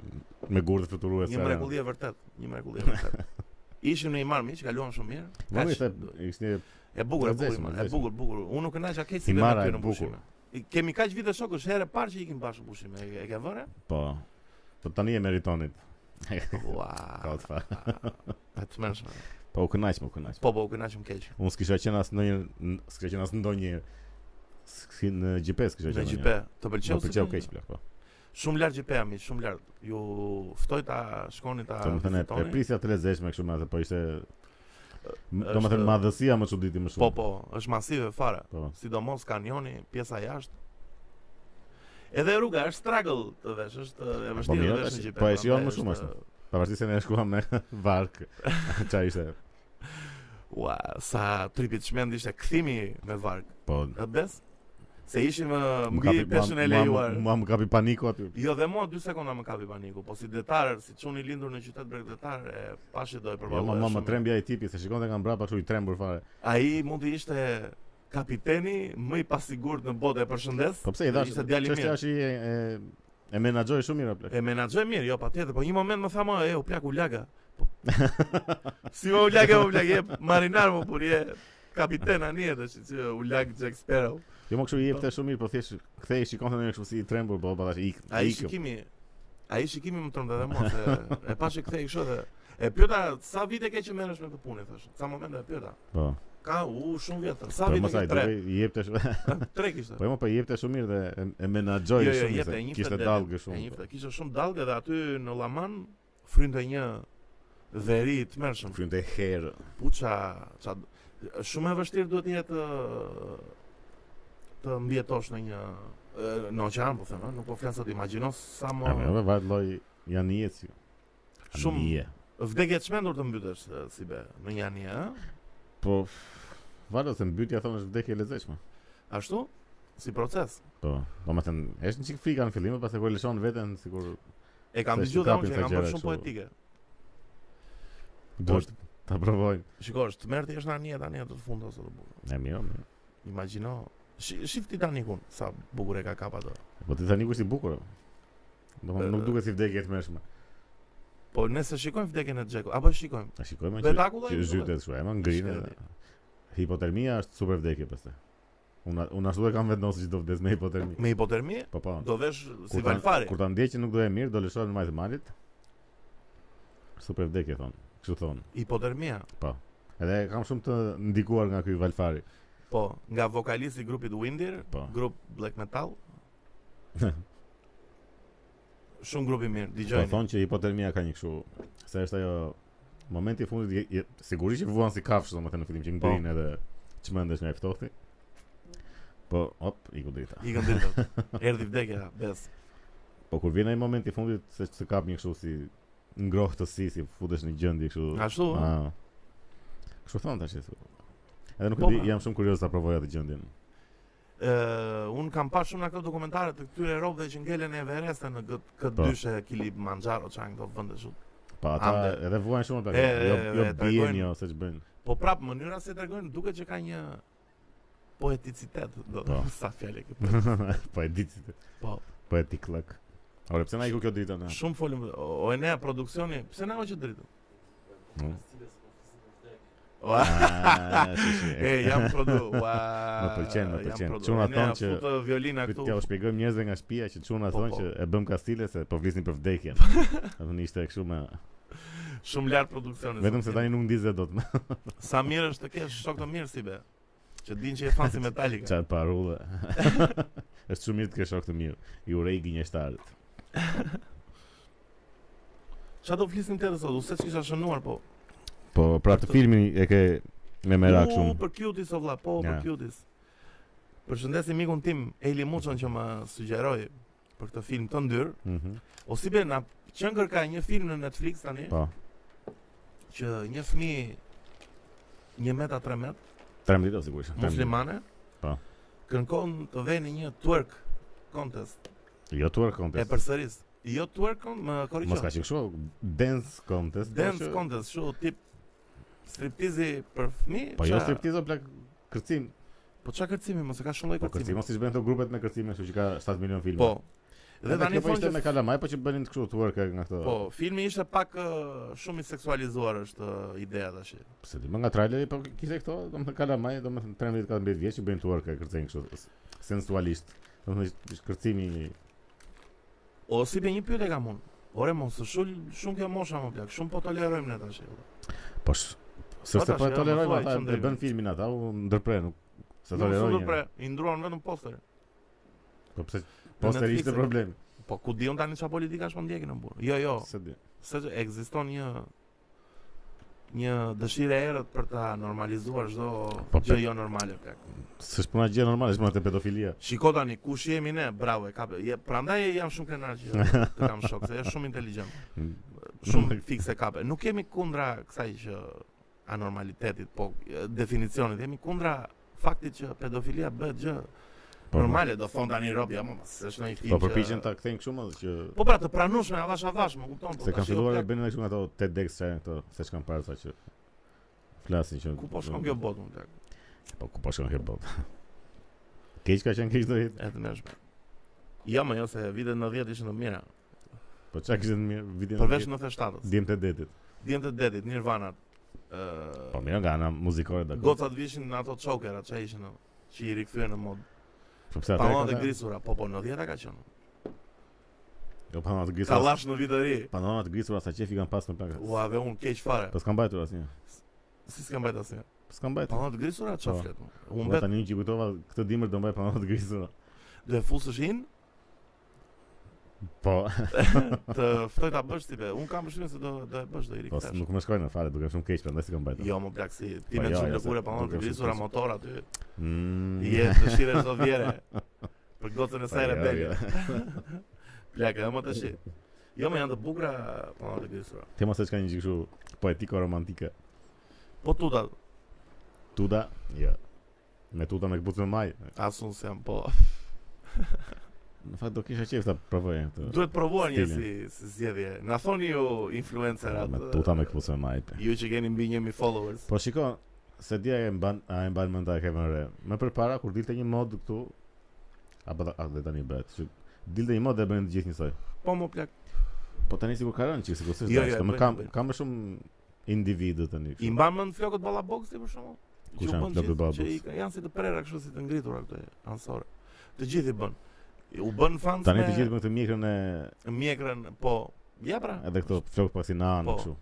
Speaker 1: me gurë fluturuese.
Speaker 2: Një mrekulli e vërtet, një mrekulli e vërtet. Ishim në Imar miq, kaluam shumë mirë.
Speaker 1: Po
Speaker 2: Kaq.
Speaker 1: ishte ishte
Speaker 2: E bukur, e bukur,
Speaker 1: Lezetshme,
Speaker 2: Imar, e
Speaker 1: lezetshme.
Speaker 2: bukur, bukur. Unë nuk kënaqja keq si be
Speaker 1: Imara
Speaker 2: aty
Speaker 1: e
Speaker 2: në
Speaker 1: bukur.
Speaker 2: pushime. I- Kemi kaq vite shokësh, herë e parë që ikim bashkë në pushime. E, e ke vënë?
Speaker 1: po. Po tani e meritonit.
Speaker 2: Ua.
Speaker 1: Ka të fa.
Speaker 2: Atë mëshme.
Speaker 1: Po u kënaq, më u kënaq.
Speaker 2: Po, po, u kënaqëm keq.
Speaker 1: Unë s'kisha qenë asë ndonjë, s'kisha qenë asë ndonjë, s'ki në GPS kisha
Speaker 2: Me
Speaker 1: qenë.
Speaker 2: GP, të
Speaker 1: Më
Speaker 2: pëlqeu? si
Speaker 1: pëlqeu
Speaker 2: be?
Speaker 1: keq plak po.
Speaker 2: Shumë larg GP-a mi, shumë larg. Ju ftoj ta shkoni ta
Speaker 1: Do të thënë e
Speaker 2: vizitoni.
Speaker 1: prisja të lezetshme kështu me atë, po ishte
Speaker 2: Ë,
Speaker 1: do të thënë
Speaker 2: është-
Speaker 1: madhësia më çuditi më shumë.
Speaker 2: Po, po, është masive fare.
Speaker 1: Po.
Speaker 2: Sidomos kanioni, pjesa jashtë. Edhe rruga është struggle të vesh, është e vështirë
Speaker 1: mirë,
Speaker 2: të vesh në
Speaker 1: tash,
Speaker 2: GP.
Speaker 1: po e shijon
Speaker 2: prandaj
Speaker 1: më shumë, është. Pavarësisht se ne shkuam me vark. Çfarë ishte?
Speaker 2: Ua, sa tripi çmend ishte kthimi me varg.
Speaker 1: Po.
Speaker 2: E bes? Se ishim ë,
Speaker 1: më
Speaker 2: mbi
Speaker 1: kapi-
Speaker 2: peshën e
Speaker 1: mua-
Speaker 2: lejuar.
Speaker 1: Mua mua më kapi paniku aty.
Speaker 2: Jo dhe mua 2 sekonda më kapi paniku, po si detarër, si çuni lindur në qytet bregdetar, e pashë do e
Speaker 1: Jo,
Speaker 2: përballoj.
Speaker 1: ma ma më trembja i tipi se shikonte nga mbrapa kështu i trembur fare.
Speaker 2: Ai mund të ishte kapiteni më i pasigurt në botë, e përshëndes.
Speaker 1: Po pse i dash?
Speaker 2: Ishte djali mirë.
Speaker 1: Çështja është i e e- e menaxhoi shumë mirë plak.
Speaker 2: E menaxhoj mirë, jo patjetër, po një moment më tha më, e u plak u laga. Po, si më u laga, u laga, e marinar më por je kapiten ani edhe që që u lag Jack Sparrow.
Speaker 1: Jo më kështu i jepte shumë mirë, po thjesht kthej shikonte ndonjë kështu si i trembur, po patash ik.
Speaker 2: Ai
Speaker 1: ikëm.
Speaker 2: shikimi, ai shikimi më trondë dhe mua se e pashë kthej kështu dhe e pyeta sa vite ke që merresh me këtë punë thosh. Sa momente e pyeta.
Speaker 1: Po.
Speaker 2: Ka u shumë vjetër. Sa
Speaker 1: Po
Speaker 2: vite
Speaker 1: mos
Speaker 2: ke
Speaker 1: ai
Speaker 2: tre?
Speaker 1: duke i jepte shumë.
Speaker 2: Tre kishte.
Speaker 1: Po e mo po i jepte shumë mirë dhe e- e menaxhoi
Speaker 2: Jo, jo,
Speaker 1: shumë mirë.
Speaker 2: jepte, e
Speaker 1: se
Speaker 2: njifte
Speaker 1: Kishte
Speaker 2: dele,
Speaker 1: dallgë
Speaker 2: E
Speaker 1: shumë.
Speaker 2: njëfte, kishte shumë dallgë dhe aty në Llaman frynte një veri të mërshëm.
Speaker 1: Frynte herë.
Speaker 2: Puça, ça shumë e vështirë duhet një të të mbjetosh në një e, në oqean, po them, ë, nuk po flas të imagjino sa
Speaker 1: Po,
Speaker 2: më
Speaker 1: po varet lloj janë jetë. si. Janë
Speaker 2: Shumë-
Speaker 1: je.
Speaker 2: vdekje të çmendur të mbytesh e, si be në një anije, ë?
Speaker 1: Po varet se mbytja thonë është vdekje e lezetshme.
Speaker 2: Ashtu? Si proces.
Speaker 1: Po, po më thënë, është një çik frika në fillim, pastaj kur e lëshon veten sikur
Speaker 2: E kam
Speaker 1: Se si
Speaker 2: dëgjuar dhe
Speaker 1: kapin
Speaker 2: unë që e
Speaker 1: këta
Speaker 2: kam bërë
Speaker 1: gjëra
Speaker 2: shumë
Speaker 1: kështu.
Speaker 2: poetike.
Speaker 1: duhet ta provojmë.
Speaker 2: Shiko, është merti është në anije tani atë të fundit ose të bukur.
Speaker 1: E mirë, mirë.
Speaker 2: Imagjino. Shi- Shif Titanicun, sa bukur e ka kapa atë.
Speaker 1: Po ti tani ku si bukur. Do më nuk
Speaker 2: Ë.
Speaker 1: duket si vdekje e tmerrshme.
Speaker 2: Po nëse shikojmë vdekjen e Xhekut, apo e shikojmë.
Speaker 1: A shikojmë që
Speaker 2: Spektakulli.
Speaker 1: që zytet kështu, e më ngrinë.
Speaker 2: Shkëlqej.
Speaker 1: edhe. Hipotermia është super vdekje pastaj. Unë unë ashtu e kam vendosur që do vdes me hipotermi.
Speaker 2: Me hipotermi
Speaker 1: Po po.
Speaker 2: do vesh si
Speaker 1: Kur ta-
Speaker 2: valfari.
Speaker 1: Kur ta ndjeqin nuk do e mirë, do lëshohem në majtë e malit. Super vdekje thon. Kështu thon.
Speaker 2: Hipotermia.
Speaker 1: Edhe kam shumë të ndikuar nga ky valfari.
Speaker 2: Po, nga vokalisti i grupit Windir,
Speaker 1: Po.
Speaker 2: grup black metal. Shumë grup i mirë,
Speaker 1: Po
Speaker 2: dëgjojeni.
Speaker 1: thonë që hipotermia ka një kështu se është ajo momenti i fundit je- je- sigurisht që vuan si kafshë domethënë në fillim që
Speaker 2: Po.
Speaker 1: ngrin edhe çmendesh nga i ftohti. Po, hop, iku drita.
Speaker 2: Ikën ditët. Erdhi vdekja, bes.
Speaker 1: Po kur vjen ai momenti i fundit se të kap një kështu si ngrohtësi, si futesh në gjendje kështu.
Speaker 2: Ashtu, ë?
Speaker 1: Ah. Kështu thon tash. si- Edhe nuk e
Speaker 2: Po,
Speaker 1: di,
Speaker 2: ma.
Speaker 1: jam shumë kurioz ta provoj atë gjendjen.
Speaker 2: Ë, eh, un kam parë shumë nga këto dokumentare të këtyre robëve që ngelen në Everest në këtë
Speaker 1: Po.
Speaker 2: këtë dyshe Kilimanjaro çan këto vende shumë.
Speaker 1: Po ata
Speaker 2: Ande.
Speaker 1: edhe vuajnë shumë plak.
Speaker 2: E, e,
Speaker 1: Jo,
Speaker 2: e,
Speaker 1: jo
Speaker 2: e,
Speaker 1: bien
Speaker 2: tregojnë-
Speaker 1: jo se ç'bëjnë.
Speaker 2: Po prap mënyra se tregojnë duket që ka një poeticitet, do të
Speaker 1: Po.
Speaker 2: thotë sa fjalë ke. për-
Speaker 1: po e ditë.
Speaker 2: Po.
Speaker 1: Po e tik lak. Ore, pse na iku kjo drita na?
Speaker 2: Shumë folëm, o e nea produksioni, pse na o që dritu?
Speaker 1: Mm.
Speaker 2: Ua,
Speaker 1: Ah, si, si,
Speaker 2: E, jam produ, ua,
Speaker 1: Më pëlqen, më
Speaker 2: jam
Speaker 1: pëlqen.
Speaker 2: produ.
Speaker 1: Çuna
Speaker 2: E nea
Speaker 1: thonë që-
Speaker 2: futë violina
Speaker 1: Këtë
Speaker 2: këtu,
Speaker 1: t'ja u shpjegojmë njerëzve nga shtëpia që çuna
Speaker 2: Po,
Speaker 1: thonë
Speaker 2: po.
Speaker 1: që e bëm kastile se po flisnin për vdekjen. Atë ishte kështu me
Speaker 2: shumë lartë produksionin.
Speaker 1: vetëm se tani nuk ndizet dot.
Speaker 2: Sa mirë është të kesh shok të mirë si be. Që din që e fan si Metallica.
Speaker 1: Çfarë parullë. Është shumë mirë të kesh shok të mirë. I urej gënjeshtarët.
Speaker 2: Qa do flisim tjetër sot? U se kisha shënuar po.
Speaker 1: Po pra të filmin e ke me merak
Speaker 2: U,
Speaker 1: shumë.
Speaker 2: Po, për cuties o vlla, po, për
Speaker 1: Ja.
Speaker 2: cuties. Përshëndesim mikun tim Eli Muçon që më sugjeroi për këtë film të ndyr.
Speaker 1: Mhm.
Speaker 2: O si be na qen kërka një film në Netflix tani
Speaker 1: Po.
Speaker 2: që një fëmijë 1 meta 3 met
Speaker 1: 13 ose kush?
Speaker 2: muslimane
Speaker 1: Po.
Speaker 2: kërkon të vënë një twerk contest
Speaker 1: Jo tuar
Speaker 2: e
Speaker 1: contest.
Speaker 2: përsëris. Jo twerk contest, më
Speaker 1: Mos
Speaker 2: korrigjoj.
Speaker 1: ka qenë kështu po, dance contest. po
Speaker 2: Dance
Speaker 1: që-
Speaker 2: contest, shu tip striptizi për fëmijë.
Speaker 1: Po jo
Speaker 2: qa-
Speaker 1: striptizo plak kërcim.
Speaker 2: Po çka kërcimi, mos e ka shumë lloj
Speaker 1: Po kërcim
Speaker 2: kërcimi.
Speaker 1: mos i bën këto grupet me kërcime, kështu që ka 7 milion filma.
Speaker 2: Po. Dhe
Speaker 1: Edhe
Speaker 2: tani
Speaker 1: kjo po ishte
Speaker 2: thonë
Speaker 1: me
Speaker 2: që
Speaker 1: kalamaj, po që bënin të kështu tuar nga këto.
Speaker 2: po, filmi ishte pak ë, shumë i seksualizuar është ë, ideja tash.
Speaker 1: Pse ti më nga traileri po kishte këto, domethënë kalamaj, domethënë 13-14 vjeç që bëjnë tuar kë kërcejnë kështu s- sensualisht. Domethënë ishte- ishte kërcimi
Speaker 2: O si be një pyetje kam unë. Ore mos të shul shumë kjo mosha më plak, shumë po tolerojmë ne tash.
Speaker 1: po sh- s'është
Speaker 2: tash,
Speaker 1: po e
Speaker 2: ja, më
Speaker 1: tolerojmë
Speaker 2: thuaj,
Speaker 1: ata
Speaker 2: që
Speaker 1: e
Speaker 2: ndrimi.
Speaker 1: bën filmin ata, u ndërpre nuk se
Speaker 2: Nuk
Speaker 1: tolerojnë. njëri.
Speaker 2: super pre, i ndruan vetëm poster.
Speaker 1: Po pse posteri
Speaker 2: Netflix
Speaker 1: ishte
Speaker 2: e-
Speaker 1: problemi.
Speaker 2: Po ku diun tani çfarë politika është po ndjekin në burr. Jo, jo,
Speaker 1: Se di.
Speaker 2: se që ekziston një një dëshirë e errët për ta normalizuar çdo
Speaker 1: Po,
Speaker 2: gjë
Speaker 1: pe-
Speaker 2: jo normale plak.
Speaker 1: S'është puna gjë normale, është puna te pedofilia.
Speaker 2: Shiko tani kush jemi ne, bravo e kape. Je, prandaj jam shumë krenar që të kam shok, se është shumë inteligjent. Shumë fikse kape. Nuk jemi kundra kësaj që anormalitetit, po e, definicionit, jemi kundra faktit që pedofilia bëhet gjë
Speaker 1: Po,
Speaker 2: normale, do thon tani rob, ja mos, s'është ndonjë film.
Speaker 1: Po
Speaker 2: që-
Speaker 1: përpiqen ta kthejnë kështu më që
Speaker 2: Po pra të pranush me avash avash, më kupton, po
Speaker 1: se kanë
Speaker 2: tash jo,
Speaker 1: filluar të
Speaker 2: plak,
Speaker 1: bëjnë edhe kështu nga ato TED Dex çfarë këto, se ç'kan parë sa që flasin që
Speaker 2: ku po shkon kjo botë më tek.
Speaker 1: Po ku po shkon kjo botë. Keq ka qenë keq do jetë.
Speaker 2: E të mëshme. Jo, më jo se vitet 90 ishin të mira,
Speaker 1: Po çka kishte në mirë vitin
Speaker 2: përveç 97-s.
Speaker 1: djem të detit.
Speaker 2: Djem të detit, Nirvana. Ë,
Speaker 1: Po mirë nga ana muzikore dakord.
Speaker 2: Gocat vishin në ato chokera që ishin në, që i rikthyen në mod.
Speaker 1: Po pse
Speaker 2: Tamam
Speaker 1: kanë
Speaker 2: dhe
Speaker 1: qenë-
Speaker 2: grisura, po po në 10 ka qenë.
Speaker 1: Jo pa të
Speaker 2: Ka
Speaker 1: grisura.
Speaker 2: lash në vit të ri.
Speaker 1: Panona të grisura sa qefi kanë pas në plaka.
Speaker 2: Ua, dhe unë keq fare.
Speaker 1: Po s'kan mbajtur asnjë.
Speaker 2: Si s'kam bajt asnjë.
Speaker 1: Po s'kan mbajtur.
Speaker 2: Tamam të grisura
Speaker 1: Po.
Speaker 2: çfarë flet? mu? Unë
Speaker 1: Unë
Speaker 2: bet
Speaker 1: tani që kujtova këtë dimër do mbaj panona të grisura.
Speaker 2: do e fusësh in,
Speaker 1: Po,
Speaker 2: të ftoj ta bësh tipe. Unë kam përshtypjen se do do e bësh do i
Speaker 1: po
Speaker 2: rikthesh.
Speaker 1: nuk më shkojnë në fare, duke shumë keq prandaj s'kan mbajtur.
Speaker 2: Jo, më plak si ti
Speaker 1: Po,
Speaker 2: me
Speaker 1: jo,
Speaker 2: çfarë
Speaker 1: jo,
Speaker 2: lëkure
Speaker 1: se-
Speaker 2: pa të
Speaker 1: nuk është
Speaker 2: grisura
Speaker 1: fusë.
Speaker 2: motor aty.
Speaker 1: Mm.
Speaker 2: Je dëshirë çdo vjere. Për gocën e
Speaker 1: Po,
Speaker 2: saj
Speaker 1: jo,
Speaker 2: rebelje.
Speaker 1: jo.
Speaker 2: Plak, e më tash. Jo, më janë të bukura pa të grisura.
Speaker 1: Tema se çka një gjë kështu poetiko romantike.
Speaker 2: Po tuta,
Speaker 1: Tuda, jo. Me tuta me këpucë me maj.
Speaker 2: asun se jam po.
Speaker 1: Në No, fakt do kisha qef ta provoj këtë.
Speaker 2: Duhet provuar një si,
Speaker 1: Stilin.
Speaker 2: si zgjedhje. Na thoni ju influencerat.
Speaker 1: Me tuta me këpucë me maj. pe.
Speaker 2: Ju që keni mbi 1000 followers.
Speaker 1: Po shiko, se dia e mban a e mban mend ta e ke vënë re. Më përpara kur dilte një mod këtu apo ta- a, dhe tani bëhet. Që dilte një mod dhe bënin të gjithë njësoj.
Speaker 2: Po më plak.
Speaker 1: Po tani sikur ka rënë çik sikur s'është.
Speaker 2: Jo,
Speaker 1: dashka,
Speaker 2: jo, e
Speaker 1: më
Speaker 2: bëjnë,
Speaker 1: kam
Speaker 2: bëjnë.
Speaker 1: kam më shumë individë tani.
Speaker 2: I
Speaker 1: kështu.
Speaker 2: mban mend flokët ballaboksi për shkakun.
Speaker 1: Ku janë flokët ballaboksi?
Speaker 2: Që i ka- janë si të prera kështu si të ngritura këto ansore. Të gjithë i bën. U bën fans
Speaker 1: Tani
Speaker 2: me
Speaker 1: të gjithë me këtë mjekrën e
Speaker 2: mjekrën, po. Ja pra.
Speaker 1: edhe këto flok pasi na anë
Speaker 2: Po.
Speaker 1: kështu.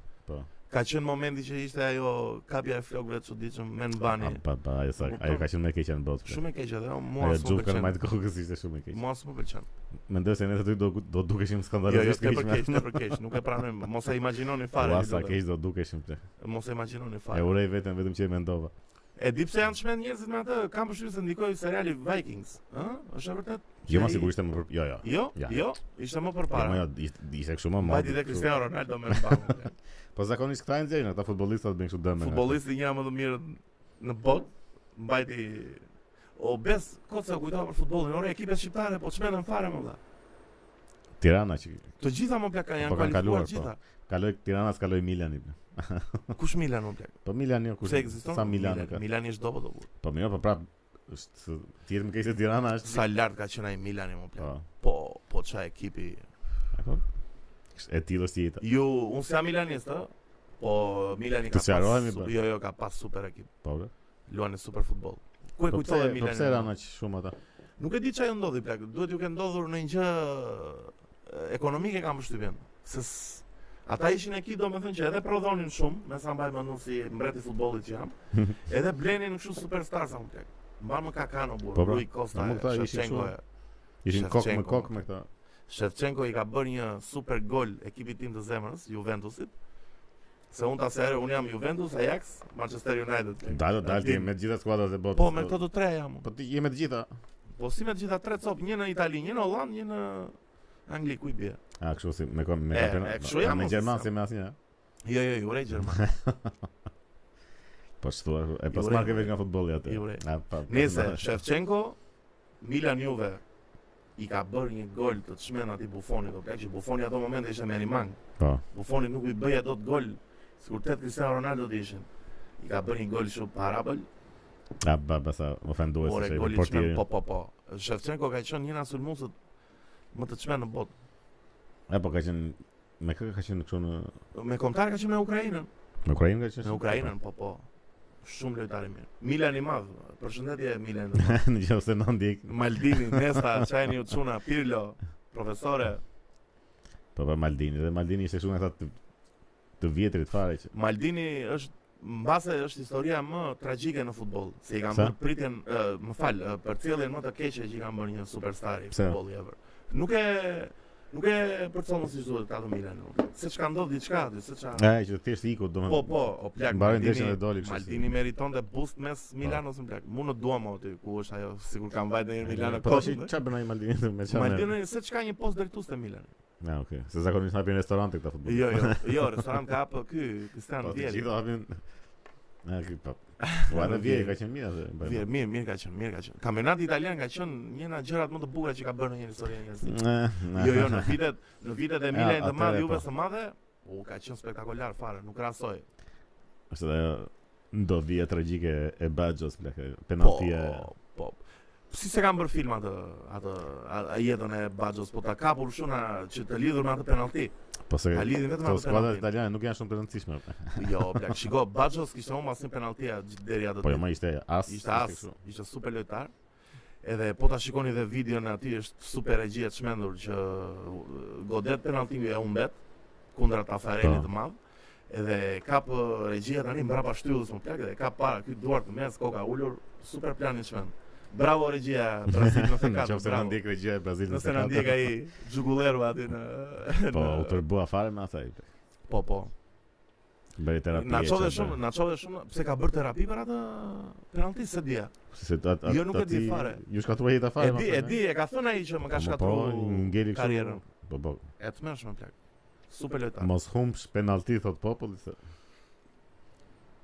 Speaker 2: Ka qenë momenti që ishte ajo kapja e flokëve të çuditshëm me në bani.
Speaker 1: A, Pa pa, ajo sa ajo ka qenë më e keqja në botë. pe.
Speaker 2: Shumë e keqe dhe mua
Speaker 1: Ajo
Speaker 2: s'më
Speaker 1: xhukën më
Speaker 2: pëlqen.
Speaker 1: të kokës ishte shumë e keqe.
Speaker 2: Mua s'më pëlqen.
Speaker 1: Mendoj se ne të dy do do dukeshim
Speaker 2: Jo, jo,
Speaker 1: skandalozisht
Speaker 2: te
Speaker 1: keq.
Speaker 2: përkeq, te përkeq, nuk e pranojmë. Mos e imagjinoni fare.
Speaker 1: Ua
Speaker 2: ju
Speaker 1: sa
Speaker 2: lutem.
Speaker 1: keq do dukeshim te.
Speaker 2: Mos e imagjinoni
Speaker 1: E
Speaker 2: fare.
Speaker 1: urej vetëm vetëm që e mendova.
Speaker 2: E di pse janë shmend njerëzit me atë, kam përshtypjen se ndikoi seriali Vikings, ë? Është e vërtet?
Speaker 1: Jo, ma
Speaker 2: Që i-
Speaker 1: sigurisht e më për... Jo, jo.
Speaker 2: Jo,
Speaker 1: Ja.
Speaker 2: jo, ishte më
Speaker 1: Jo, ma jo,
Speaker 2: përpara.
Speaker 1: ishte, ishte kështu më
Speaker 2: Mbajti
Speaker 1: madh.
Speaker 2: dhe Cristiano Ronaldo me mbamë.
Speaker 1: Po zakonisht këta e nxjerrin ata futbollistat bëjnë kështu dëmë.
Speaker 2: Futbollisti një nga më të mirët në botë, mbajti O bes, kot sa kujtova për futbollin, ore ekipet shqiptare po çmendën fare më valla.
Speaker 1: Tirana që
Speaker 2: Të gjitha më plak janë
Speaker 1: Po, kanë
Speaker 2: kualifikuar
Speaker 1: kaluar, po.
Speaker 2: gjitha.
Speaker 1: kaloi Tirana s'kaloi Milani.
Speaker 2: Kush Milan më plak?
Speaker 1: Po Milani jo kush.
Speaker 2: Pse ekziston?
Speaker 1: Sa Milani ka.
Speaker 2: Milani është dobët apo?
Speaker 1: Po mirë, po prap është tjetër më keq se Tirana është.
Speaker 2: Sa lart ka qenë ai Milani më plan.
Speaker 1: Po.
Speaker 2: Po, po ç'a ekipi.
Speaker 1: Apo? Kësht- E tillë është jeta.
Speaker 2: Ju, unë se jam milanist, ë. Po Milani ka
Speaker 1: Të sqarohemi,
Speaker 2: su-
Speaker 1: pra.
Speaker 2: jo, jo, ka pas super ekip.
Speaker 1: Po. bre.
Speaker 2: Luan në super futboll. Ku e
Speaker 1: Po pse-
Speaker 2: kujtove
Speaker 1: Po pse rana
Speaker 2: Milani?
Speaker 1: aq shumë ata?
Speaker 2: Nuk e di çfarë ju ndodhi plak. Duhet ju ke ndodhur në një gjë e, ekonomike kam përshtypjen. Se s- ata ishin ekip domethënë që edhe prodhonin shumë, me sa mbaj mendon si mbreti i futbollit që jam. Edhe blenin kështu superstar sa më plak. Mban më Kakano burr,
Speaker 1: Po, pra.
Speaker 2: Rui Costa,
Speaker 1: Ama këta ishin
Speaker 2: Shevchenko.
Speaker 1: shumë- Ishin kokë me
Speaker 2: Shevchenko.
Speaker 1: kokë me këta.
Speaker 2: Shevchenko i ka bërë një super gol ekipit tim të zemrës, Juventusit. Se unë ta sere, unë jam Juventus, Ajax, Manchester United.
Speaker 1: Dalë, dalë ti
Speaker 2: Tim.
Speaker 1: me të gjitha skuadrat e botës.
Speaker 2: Po, me këto të treja jam. unë.
Speaker 1: Po ti je me të gjitha.
Speaker 2: Po si me të gjitha tre cop, një në Itali, një në Holland, një në Angli, ku i bie?
Speaker 1: A, Ah, kështu si me kom me
Speaker 2: E,
Speaker 1: kampionat.
Speaker 2: e, kështu jam,
Speaker 1: me
Speaker 2: mos-
Speaker 1: Gjerman si me asnjë.
Speaker 2: Jo, jo, ju rej Gjerman.
Speaker 1: Po çtu, e pas
Speaker 2: Jure.
Speaker 1: marrë veç nga futbolli atë.
Speaker 2: Jure.
Speaker 1: A, pa. pa-
Speaker 2: Nese,
Speaker 1: pa-
Speaker 2: Shevchenko, Milan Juve i ka bërë një gol të të shmenat i Buffonit, o plak që Buffoni ato momente ishte me animang.
Speaker 1: Po.
Speaker 2: Buffoni nuk i bëja dot gol, sikur tet Cristiano Ronaldo të ishin. I ka bërë një gol shumë parabol,
Speaker 1: A, ba, ba, sa ofendues
Speaker 2: Ore,
Speaker 1: është
Speaker 2: goli çmen,
Speaker 1: portieri.
Speaker 2: po po po. Shevchenko ka qenë një nga sulmuesët më të po, çmen në botë.
Speaker 1: E, po ka qenë me kë ka qenë kështu në
Speaker 2: Me kombëtar ka qenë me Ukrainën.
Speaker 1: në Ukrainë ka qenë?
Speaker 2: Me Ukrainën, po po. Shumë lojtar i mirë. Milan i madh. Përshëndetje Milan. të madh.
Speaker 1: në gjithë se në ndjek.
Speaker 2: Maldini, Nesta, Çajni Uçuna, Pirlo, profesore.
Speaker 1: Po pa Maldini, dhe Maldini ishte shumë nga ata të, të vjetrit fare që.
Speaker 2: Maldini është mbase është historia më tragjike në futboll, se i kanë
Speaker 1: Sa?
Speaker 2: bërë pritjen, ë, më fal, ë, përcjelljen më të keqe që i kanë bërë një superstar i
Speaker 1: Pse?
Speaker 2: futbollit ever. Nuk e nuk e përcjellën siç duhet ata të Milan. Se çka ndodh diçka aty, se çka
Speaker 1: E, që thjesht iku, do
Speaker 2: Po, po, o plak.
Speaker 1: Mbaroi
Speaker 2: Maldini-
Speaker 1: ndeshjen dhe doli kështu si-
Speaker 2: Maldini meriton të boost mes Milano ose plak. Mu në dua më aty, ku është ajo, sikur kam vajtë në Milano
Speaker 1: Po tash
Speaker 2: kot.
Speaker 1: çfarë bën ai Maldini me çfarë? merr?
Speaker 2: Maldini se çka një post drejtues te Milani.
Speaker 1: Ja, okay. Se zakonisht hapin restorante këta futboll.
Speaker 2: Jo, jo, jo, restorant ka hapë ky Cristiano
Speaker 1: Po të
Speaker 2: Vieri.
Speaker 1: gjithë hapin. Na ky po. Po atë vjen ka qenë mirë atë. po,
Speaker 2: Vieri, mirë, mirë ka qenë, mirë ka qenë. Kampionati italian ka qenë një nga gjërat më të bukura që ka bërë në një histori e njerëzimit.
Speaker 1: Eh, na.
Speaker 2: Jo, jo, në vitet, në vitet e Milanit të
Speaker 1: atëre
Speaker 2: madh,
Speaker 1: po.
Speaker 2: Juve të madhe, u ka qenë spektakolar fare, nuk krahasoj.
Speaker 1: Është ajo ndodhja tragjike e Baggos plak, e
Speaker 2: Po,
Speaker 1: penaltia.
Speaker 2: po. Si se kanë bërë film atë atë a- a jetën e Bagjos, po ta kapur shuna që të lidhur me atë penalti.
Speaker 1: Po se
Speaker 2: A lidhin vetëm
Speaker 1: këto
Speaker 2: atë
Speaker 1: skuadrat
Speaker 2: penaltin.
Speaker 1: italiane nuk janë shumë të rëndësishme. plak.
Speaker 2: Jo, plak, shiko, Bagjos kishte humbur asnjë penalti atë deri atë.
Speaker 1: Po jo,
Speaker 2: ditë.
Speaker 1: më ishte as.
Speaker 2: ishte as, ishte super lojtar. Edhe po ta shikoni dhe videon e atij është super regjia e çmendur që uh, godet penaltin e humbet kundra Tafarelit
Speaker 1: Po.
Speaker 2: të madh. Edhe kap uh, regjia tani mbrapa shtyllës më plak dhe ka para ky duart në mes koka ulur super plan i çmend. Bravo regjia Brazil në
Speaker 1: Në
Speaker 2: fekat.
Speaker 1: qoftë se na ndjek regjia e Brazilit.
Speaker 2: Nëse na ndjek ai xhugulleru aty në
Speaker 1: Po
Speaker 2: në-
Speaker 1: u tërbua fare me atë.
Speaker 2: po po.
Speaker 1: Bëri terapi.
Speaker 2: Na
Speaker 1: e
Speaker 2: çove
Speaker 1: qenë,
Speaker 2: shumë, na çove shumë pse ka bërë terapi për atë penalti se dia.
Speaker 1: Se ta, ta,
Speaker 2: Jo, nuk e
Speaker 1: ta ti-
Speaker 2: di fare.
Speaker 1: Ju shkatrua jeta fare.
Speaker 2: E
Speaker 1: ma
Speaker 2: di,
Speaker 1: fare.
Speaker 2: e di, e ka thënë ai që më ka
Speaker 1: Po, mo,
Speaker 2: shkatruar
Speaker 1: po, një ngeli kështu.
Speaker 2: karrierën.
Speaker 1: Po po,
Speaker 2: E të mërshme plak. Super lojtar.
Speaker 1: mos humbsh penalti thot populli se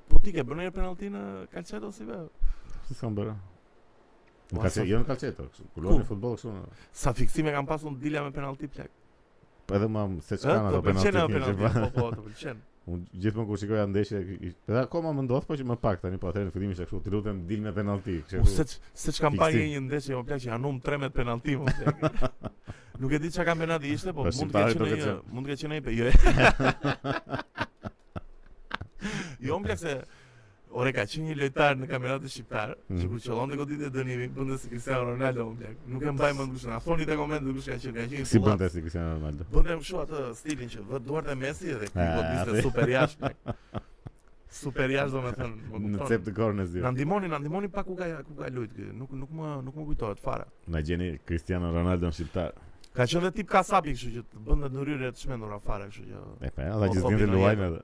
Speaker 2: Po ti ke bërë ndonjë penalti në Calcedo si be?
Speaker 1: si s'kam bërë. Në
Speaker 2: Ma,
Speaker 1: kalçe,
Speaker 2: sa-
Speaker 1: jo në kalçeto, kështu. Kur luajnë futboll kështu. në-
Speaker 2: Sa fiksime kam pasur në dilja me penalti plak.
Speaker 1: Po edhe më se
Speaker 2: Ë,
Speaker 1: çkan
Speaker 2: Të
Speaker 1: ato penalti.
Speaker 2: pëlqen ajo
Speaker 1: që
Speaker 2: penalti, po
Speaker 1: bën.
Speaker 2: po, të pëlqen.
Speaker 1: Unë gjithmonë kur shikoja ndeshje, edhe akoma më ndodh, po që më pak tani, po atëherë në fillim ishte kështu, ti lutem dil me penalti,
Speaker 2: U se
Speaker 1: kështu.
Speaker 2: ç- se ç'kam parë
Speaker 1: Fiksim.
Speaker 2: një ndeshje jo, më plak që janum 3 me penalti më plak. Nuk e di çka kampionati ishte, po
Speaker 1: Po,
Speaker 2: mund të
Speaker 1: shqiptarët
Speaker 2: ketë
Speaker 1: do
Speaker 2: qenë
Speaker 1: të
Speaker 2: një,
Speaker 1: qenë.
Speaker 2: mund të ketë qenë një pe- jo. Jo më plak se Ore ka qenë një lojtar në kampionatin shqiptar, që
Speaker 1: Mhm.
Speaker 2: kur qëllonte goditë e dënimi, bënte si Cristiano Ronaldo më plak. Nuk e mbaj mend kush na thoni te komente kush ka qenë, ka qenë.
Speaker 1: Si
Speaker 2: Fullat.
Speaker 1: bënte si Cristiano Ronaldo.
Speaker 2: Bëndem kështu atë stilin që vë duart e Messi dhe ky
Speaker 1: Ah,
Speaker 2: godiste
Speaker 1: atë.
Speaker 2: super jashtë. plak. Super jashtë domethënë, më
Speaker 1: Në
Speaker 2: po kupton.
Speaker 1: cep të kornës
Speaker 2: Na
Speaker 1: zi.
Speaker 2: ndihmoni, na ndihmoni pak ku ka ku ka lujt ky. Nuk nuk më nuk më kujtohet fare.
Speaker 1: Na gjeni Cristiano Ronaldo në shqiptar.
Speaker 2: Ka qenë dhe tip kasapi kështu që të bënte ndryre të shmendura fare kështu që
Speaker 1: E pa, ata
Speaker 2: Po,
Speaker 1: gjithë
Speaker 2: po,
Speaker 1: ditën
Speaker 2: vino
Speaker 1: luajnë
Speaker 2: jetë.
Speaker 1: edhe.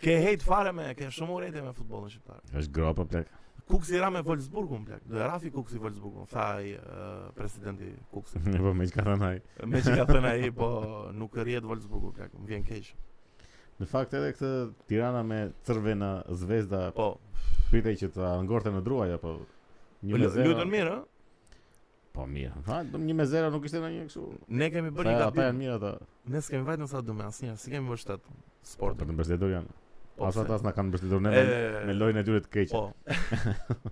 Speaker 2: ke hate fare me ke shumë urrëti me futbollin shqiptar.
Speaker 1: Është gropa plak.
Speaker 2: Kuksi ra me Wolfsburgun plak. Do e rafi Kuksi Wolfsburgun, tha ai ë, presidenti Kuksi.
Speaker 1: Po më çka thënë ai.
Speaker 2: Me që ka thënë ai, po nuk rrihet Wolfsburgu plak. Më vjen keq.
Speaker 1: Në fakt edhe këtë Tirana me Crvena Zvezda
Speaker 2: Po,
Speaker 1: pritej që ta ngorte në druaj apo një me zero.
Speaker 2: lutën mirë, ë?
Speaker 1: Po mirë. Ha, do një me zero nuk ishte ndonjë kështu.
Speaker 2: Ne kemi bërë
Speaker 1: Sa
Speaker 2: një
Speaker 1: ata
Speaker 2: gabim.
Speaker 1: janë mirë ata.
Speaker 2: Ne s'kemi vajtë nësa dëme asnjëherë, si kemi vështet
Speaker 1: Po të
Speaker 2: sportin.
Speaker 1: mbështetur janë.
Speaker 2: Po,
Speaker 1: As
Speaker 2: pse?
Speaker 1: ata as na kanë mbështetur ne me-
Speaker 2: E,
Speaker 1: me lojën e tyre të keqe.
Speaker 2: Po.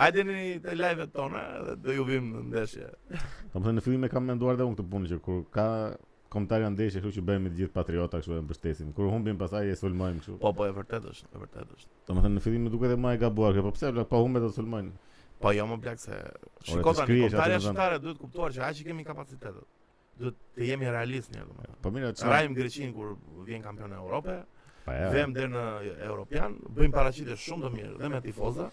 Speaker 2: Hajde në të live-et tona dhe do ju vim në ndeshje.
Speaker 1: Domethënë në fillim e kam menduar dhe unë këtë punë që kur ka kombëtar janë ndeshje, kështu që bëhemi të gjithë patriota, kështu e mbështesim. Kur humbim pastaj e sulmojmë kështu.
Speaker 2: Po, po, e vërtet është, e vërtet është.
Speaker 1: Domethënë në fillim më duket edhe më e gabuar, kjo, po pse vla, po humbet do sulmojnë.
Speaker 2: Po jo më blaq se shiko
Speaker 1: të
Speaker 2: tani
Speaker 1: shkrihesh
Speaker 2: kombëtarja
Speaker 1: atë në vend.
Speaker 2: shqiptare duhet kuptuar që aq i kemi kapacitetet. Duhet të jemi realist njerë domethënë.
Speaker 1: Po mira, çfarë?
Speaker 2: Rajm Greqin kur vjen kampion e Europe,
Speaker 1: Po ja.
Speaker 2: vëm deri në Europian, bëjmë paraqitje shumë të mirë dhe me tifoza.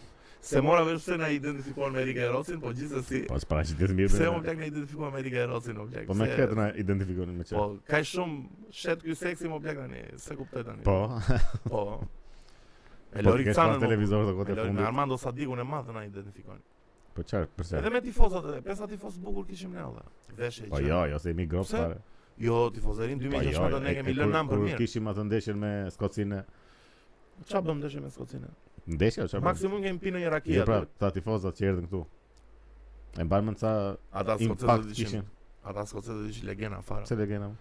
Speaker 2: Se mora vesh se na identifikuan me Erika Erosin, po gjithsesi
Speaker 1: Po s'para që të mirë.
Speaker 2: pse
Speaker 1: dhe-
Speaker 2: më blaq na identifikuan me Erika Erosin, më blaq.
Speaker 1: Po me
Speaker 2: se-
Speaker 1: këtë na identifikonin me
Speaker 2: Po,
Speaker 1: çfarë.
Speaker 2: ka shumë shet ky seksi më blaq tani, se kuptoj tani.
Speaker 1: Po.
Speaker 2: Po. E
Speaker 1: Po
Speaker 2: Lori
Speaker 1: ke
Speaker 2: Canën
Speaker 1: pas
Speaker 2: më-
Speaker 1: televizor të kote
Speaker 2: me Lori- me
Speaker 1: fundit.
Speaker 2: Armando Sadikun e madh na identifikon.
Speaker 1: Po çfarë?
Speaker 2: Edhe
Speaker 1: Përse?
Speaker 2: me tifozat edhe pesa tifoz bukur kishim ne olla. Veshje.
Speaker 1: Po
Speaker 2: gjë.
Speaker 1: jo, jo se jemi grop
Speaker 2: Pse?
Speaker 1: fare.
Speaker 2: Jo, tifozerin
Speaker 1: Po jo,
Speaker 2: 2016 ne
Speaker 1: e-
Speaker 2: kemi
Speaker 1: e
Speaker 2: lënë
Speaker 1: kur-
Speaker 2: nam për
Speaker 1: kur
Speaker 2: mirë.
Speaker 1: Kishim atë ndeshjen me Skocinë.
Speaker 2: Çfarë bëm dëshë me Skocinë?
Speaker 1: Ndeshja o çfarë?
Speaker 2: Maksimum kemi pinë një rakia.
Speaker 1: Jo pra,
Speaker 2: duhet.
Speaker 1: ta tifozat që erdhën këtu. E mban mend sa
Speaker 2: ata skocezët do
Speaker 1: impact
Speaker 2: të
Speaker 1: kishin.
Speaker 2: ishin. Ata skocezët do të ishin legjenda fare.
Speaker 1: Pse legenda? mo?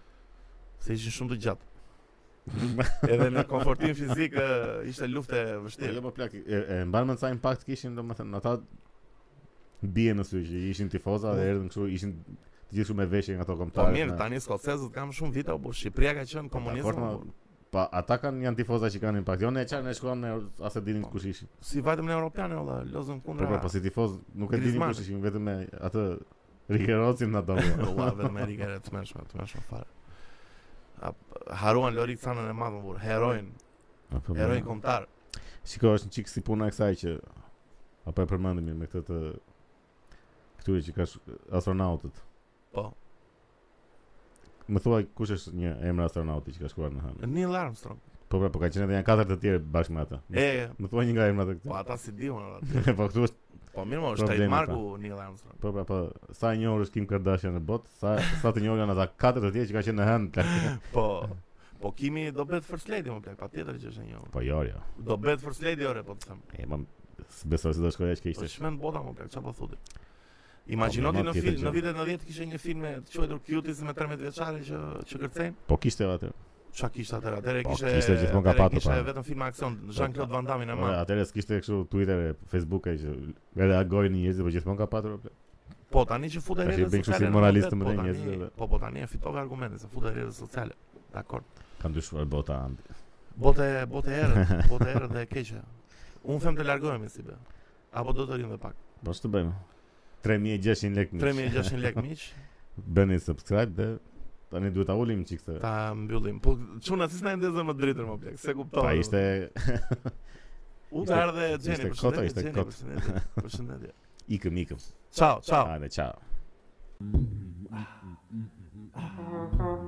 Speaker 2: Se ishin shumë të gjatë. Edhe në komfortim fizik ë, ishte luftë e
Speaker 1: Po jo
Speaker 2: vështirë.
Speaker 1: po plak, e, e mban mend sa impact kishin domethënë ata bie në sy që ishin tifoza dhe erdhën kështu, ishin të gjithë shumë me veshje nga ato
Speaker 2: Po
Speaker 1: kombëtarët.
Speaker 2: mirë,
Speaker 1: na.
Speaker 2: tani skocezët kanë shumë vite, po Shqipëria ka qenë
Speaker 1: dakord, ma-
Speaker 2: komunizëm. po.
Speaker 1: Pa ata kanë janë tifoza që kanë impact. Jo ne çan ne shkuam ne as e
Speaker 2: Po.
Speaker 1: dinin kush ishin.
Speaker 2: Si vajtëm në europianë, olla, lozëm
Speaker 1: Po
Speaker 2: kundra.
Speaker 1: pra, po si tifoz nuk e dinin
Speaker 2: Griezmann.
Speaker 1: kush ishin vetëm me atë Rikerocin na dallon.
Speaker 2: Olla, vetëm Erika e të mëshme, të mëshme fare. A- Haruan Lorik Canën e madhën vur, heroin,
Speaker 1: Po, po,
Speaker 2: heroin kombëtar.
Speaker 1: Shiko, është një çik si puna e kësaj që apo e përmendim mirë me këtë të këtyre që ka sh- astronautët.
Speaker 2: Po.
Speaker 1: Më thuaj kush është një emër astronauti që ka shkuar në hënë?
Speaker 2: Neil Armstrong.
Speaker 1: Po pra, po ka qenë edhe janë katër të tjerë bashkë me ata.
Speaker 2: E,
Speaker 1: Më thuaj një nga emrat e
Speaker 2: po
Speaker 1: këtyre.
Speaker 2: ata si diun, olla.
Speaker 1: po këtu është,
Speaker 2: Po mirë, mo, është
Speaker 1: Problemi
Speaker 2: trademarku Neil Armstrong.
Speaker 1: po pra, po sa e njohur është Kim Kardashian në botë, sa sa të njohur janë ata katër të tjerë që ka qenë në hënë.
Speaker 2: Po, po Kimi do bëhet first lady, më plak, patjetër që është e njohur.
Speaker 1: po jo, jo.
Speaker 2: Do bëhet first lady ore, po të them.
Speaker 1: E mam besoj se do shkoj aq keq.
Speaker 2: Po
Speaker 1: tash.
Speaker 2: çmend bota, më plak, çfarë po thotë? Imagjino
Speaker 1: Po,
Speaker 2: ti
Speaker 1: ma
Speaker 2: në
Speaker 1: tjetër
Speaker 2: film,
Speaker 1: gjë.
Speaker 2: në vitet 90 kishte një film me të quajtur Cuties me 13 vjeçare që që kërcejnë.
Speaker 1: Po kishte atë.
Speaker 2: Qa kishte atëherë? Atëherë
Speaker 1: Po,
Speaker 2: kishte
Speaker 1: kishte gjithmonë Po, ka
Speaker 2: atëherë
Speaker 1: patur,
Speaker 2: Kishte
Speaker 1: pra.
Speaker 2: vetëm film aksion, Jean-Claude Van Damme-in e madh.
Speaker 1: Atëherë s'kishte kështu Twitter, Facebook që reagojnë njerëzit, po gjithmonë ka patur. o,
Speaker 2: Po tani që futet
Speaker 1: Tash i
Speaker 2: rrjetet
Speaker 1: bën kështu si
Speaker 2: sociale. në
Speaker 1: moralist të
Speaker 2: vërtet, po,
Speaker 1: mëdhenj
Speaker 2: tani-
Speaker 1: njerëzit, edhe.
Speaker 2: Po po tani e fitove argumentin se futet rrjetet sociale. Dakor.
Speaker 1: Kam dyshuar bota andi.
Speaker 2: Bote bote erë, bote erë dhe e keqe. Unë them të largohemi si be. Apo do të rrim dhe pak.
Speaker 1: Po ç'të bëjmë? 3600 lekë. miq.
Speaker 2: 3600 lek miq,
Speaker 1: Bëni subscribe dhe tani duhet ta ulim çik se.
Speaker 2: ta mbyllim. Po çuna si s'na e ndezën më dritën më plak, se kuptova.
Speaker 1: Pa ishte
Speaker 2: u
Speaker 1: ishte-
Speaker 2: ka ardhe Xheni,
Speaker 1: ishte kota,
Speaker 2: përshëndetje.
Speaker 1: ishte
Speaker 2: Xheni,
Speaker 1: kot.
Speaker 2: përshëndetje, Përshëndetje.
Speaker 1: ikëm ikëm.
Speaker 2: Ciao, ciao.
Speaker 1: Hajde, ciao.
Speaker 3: Mm-hmm.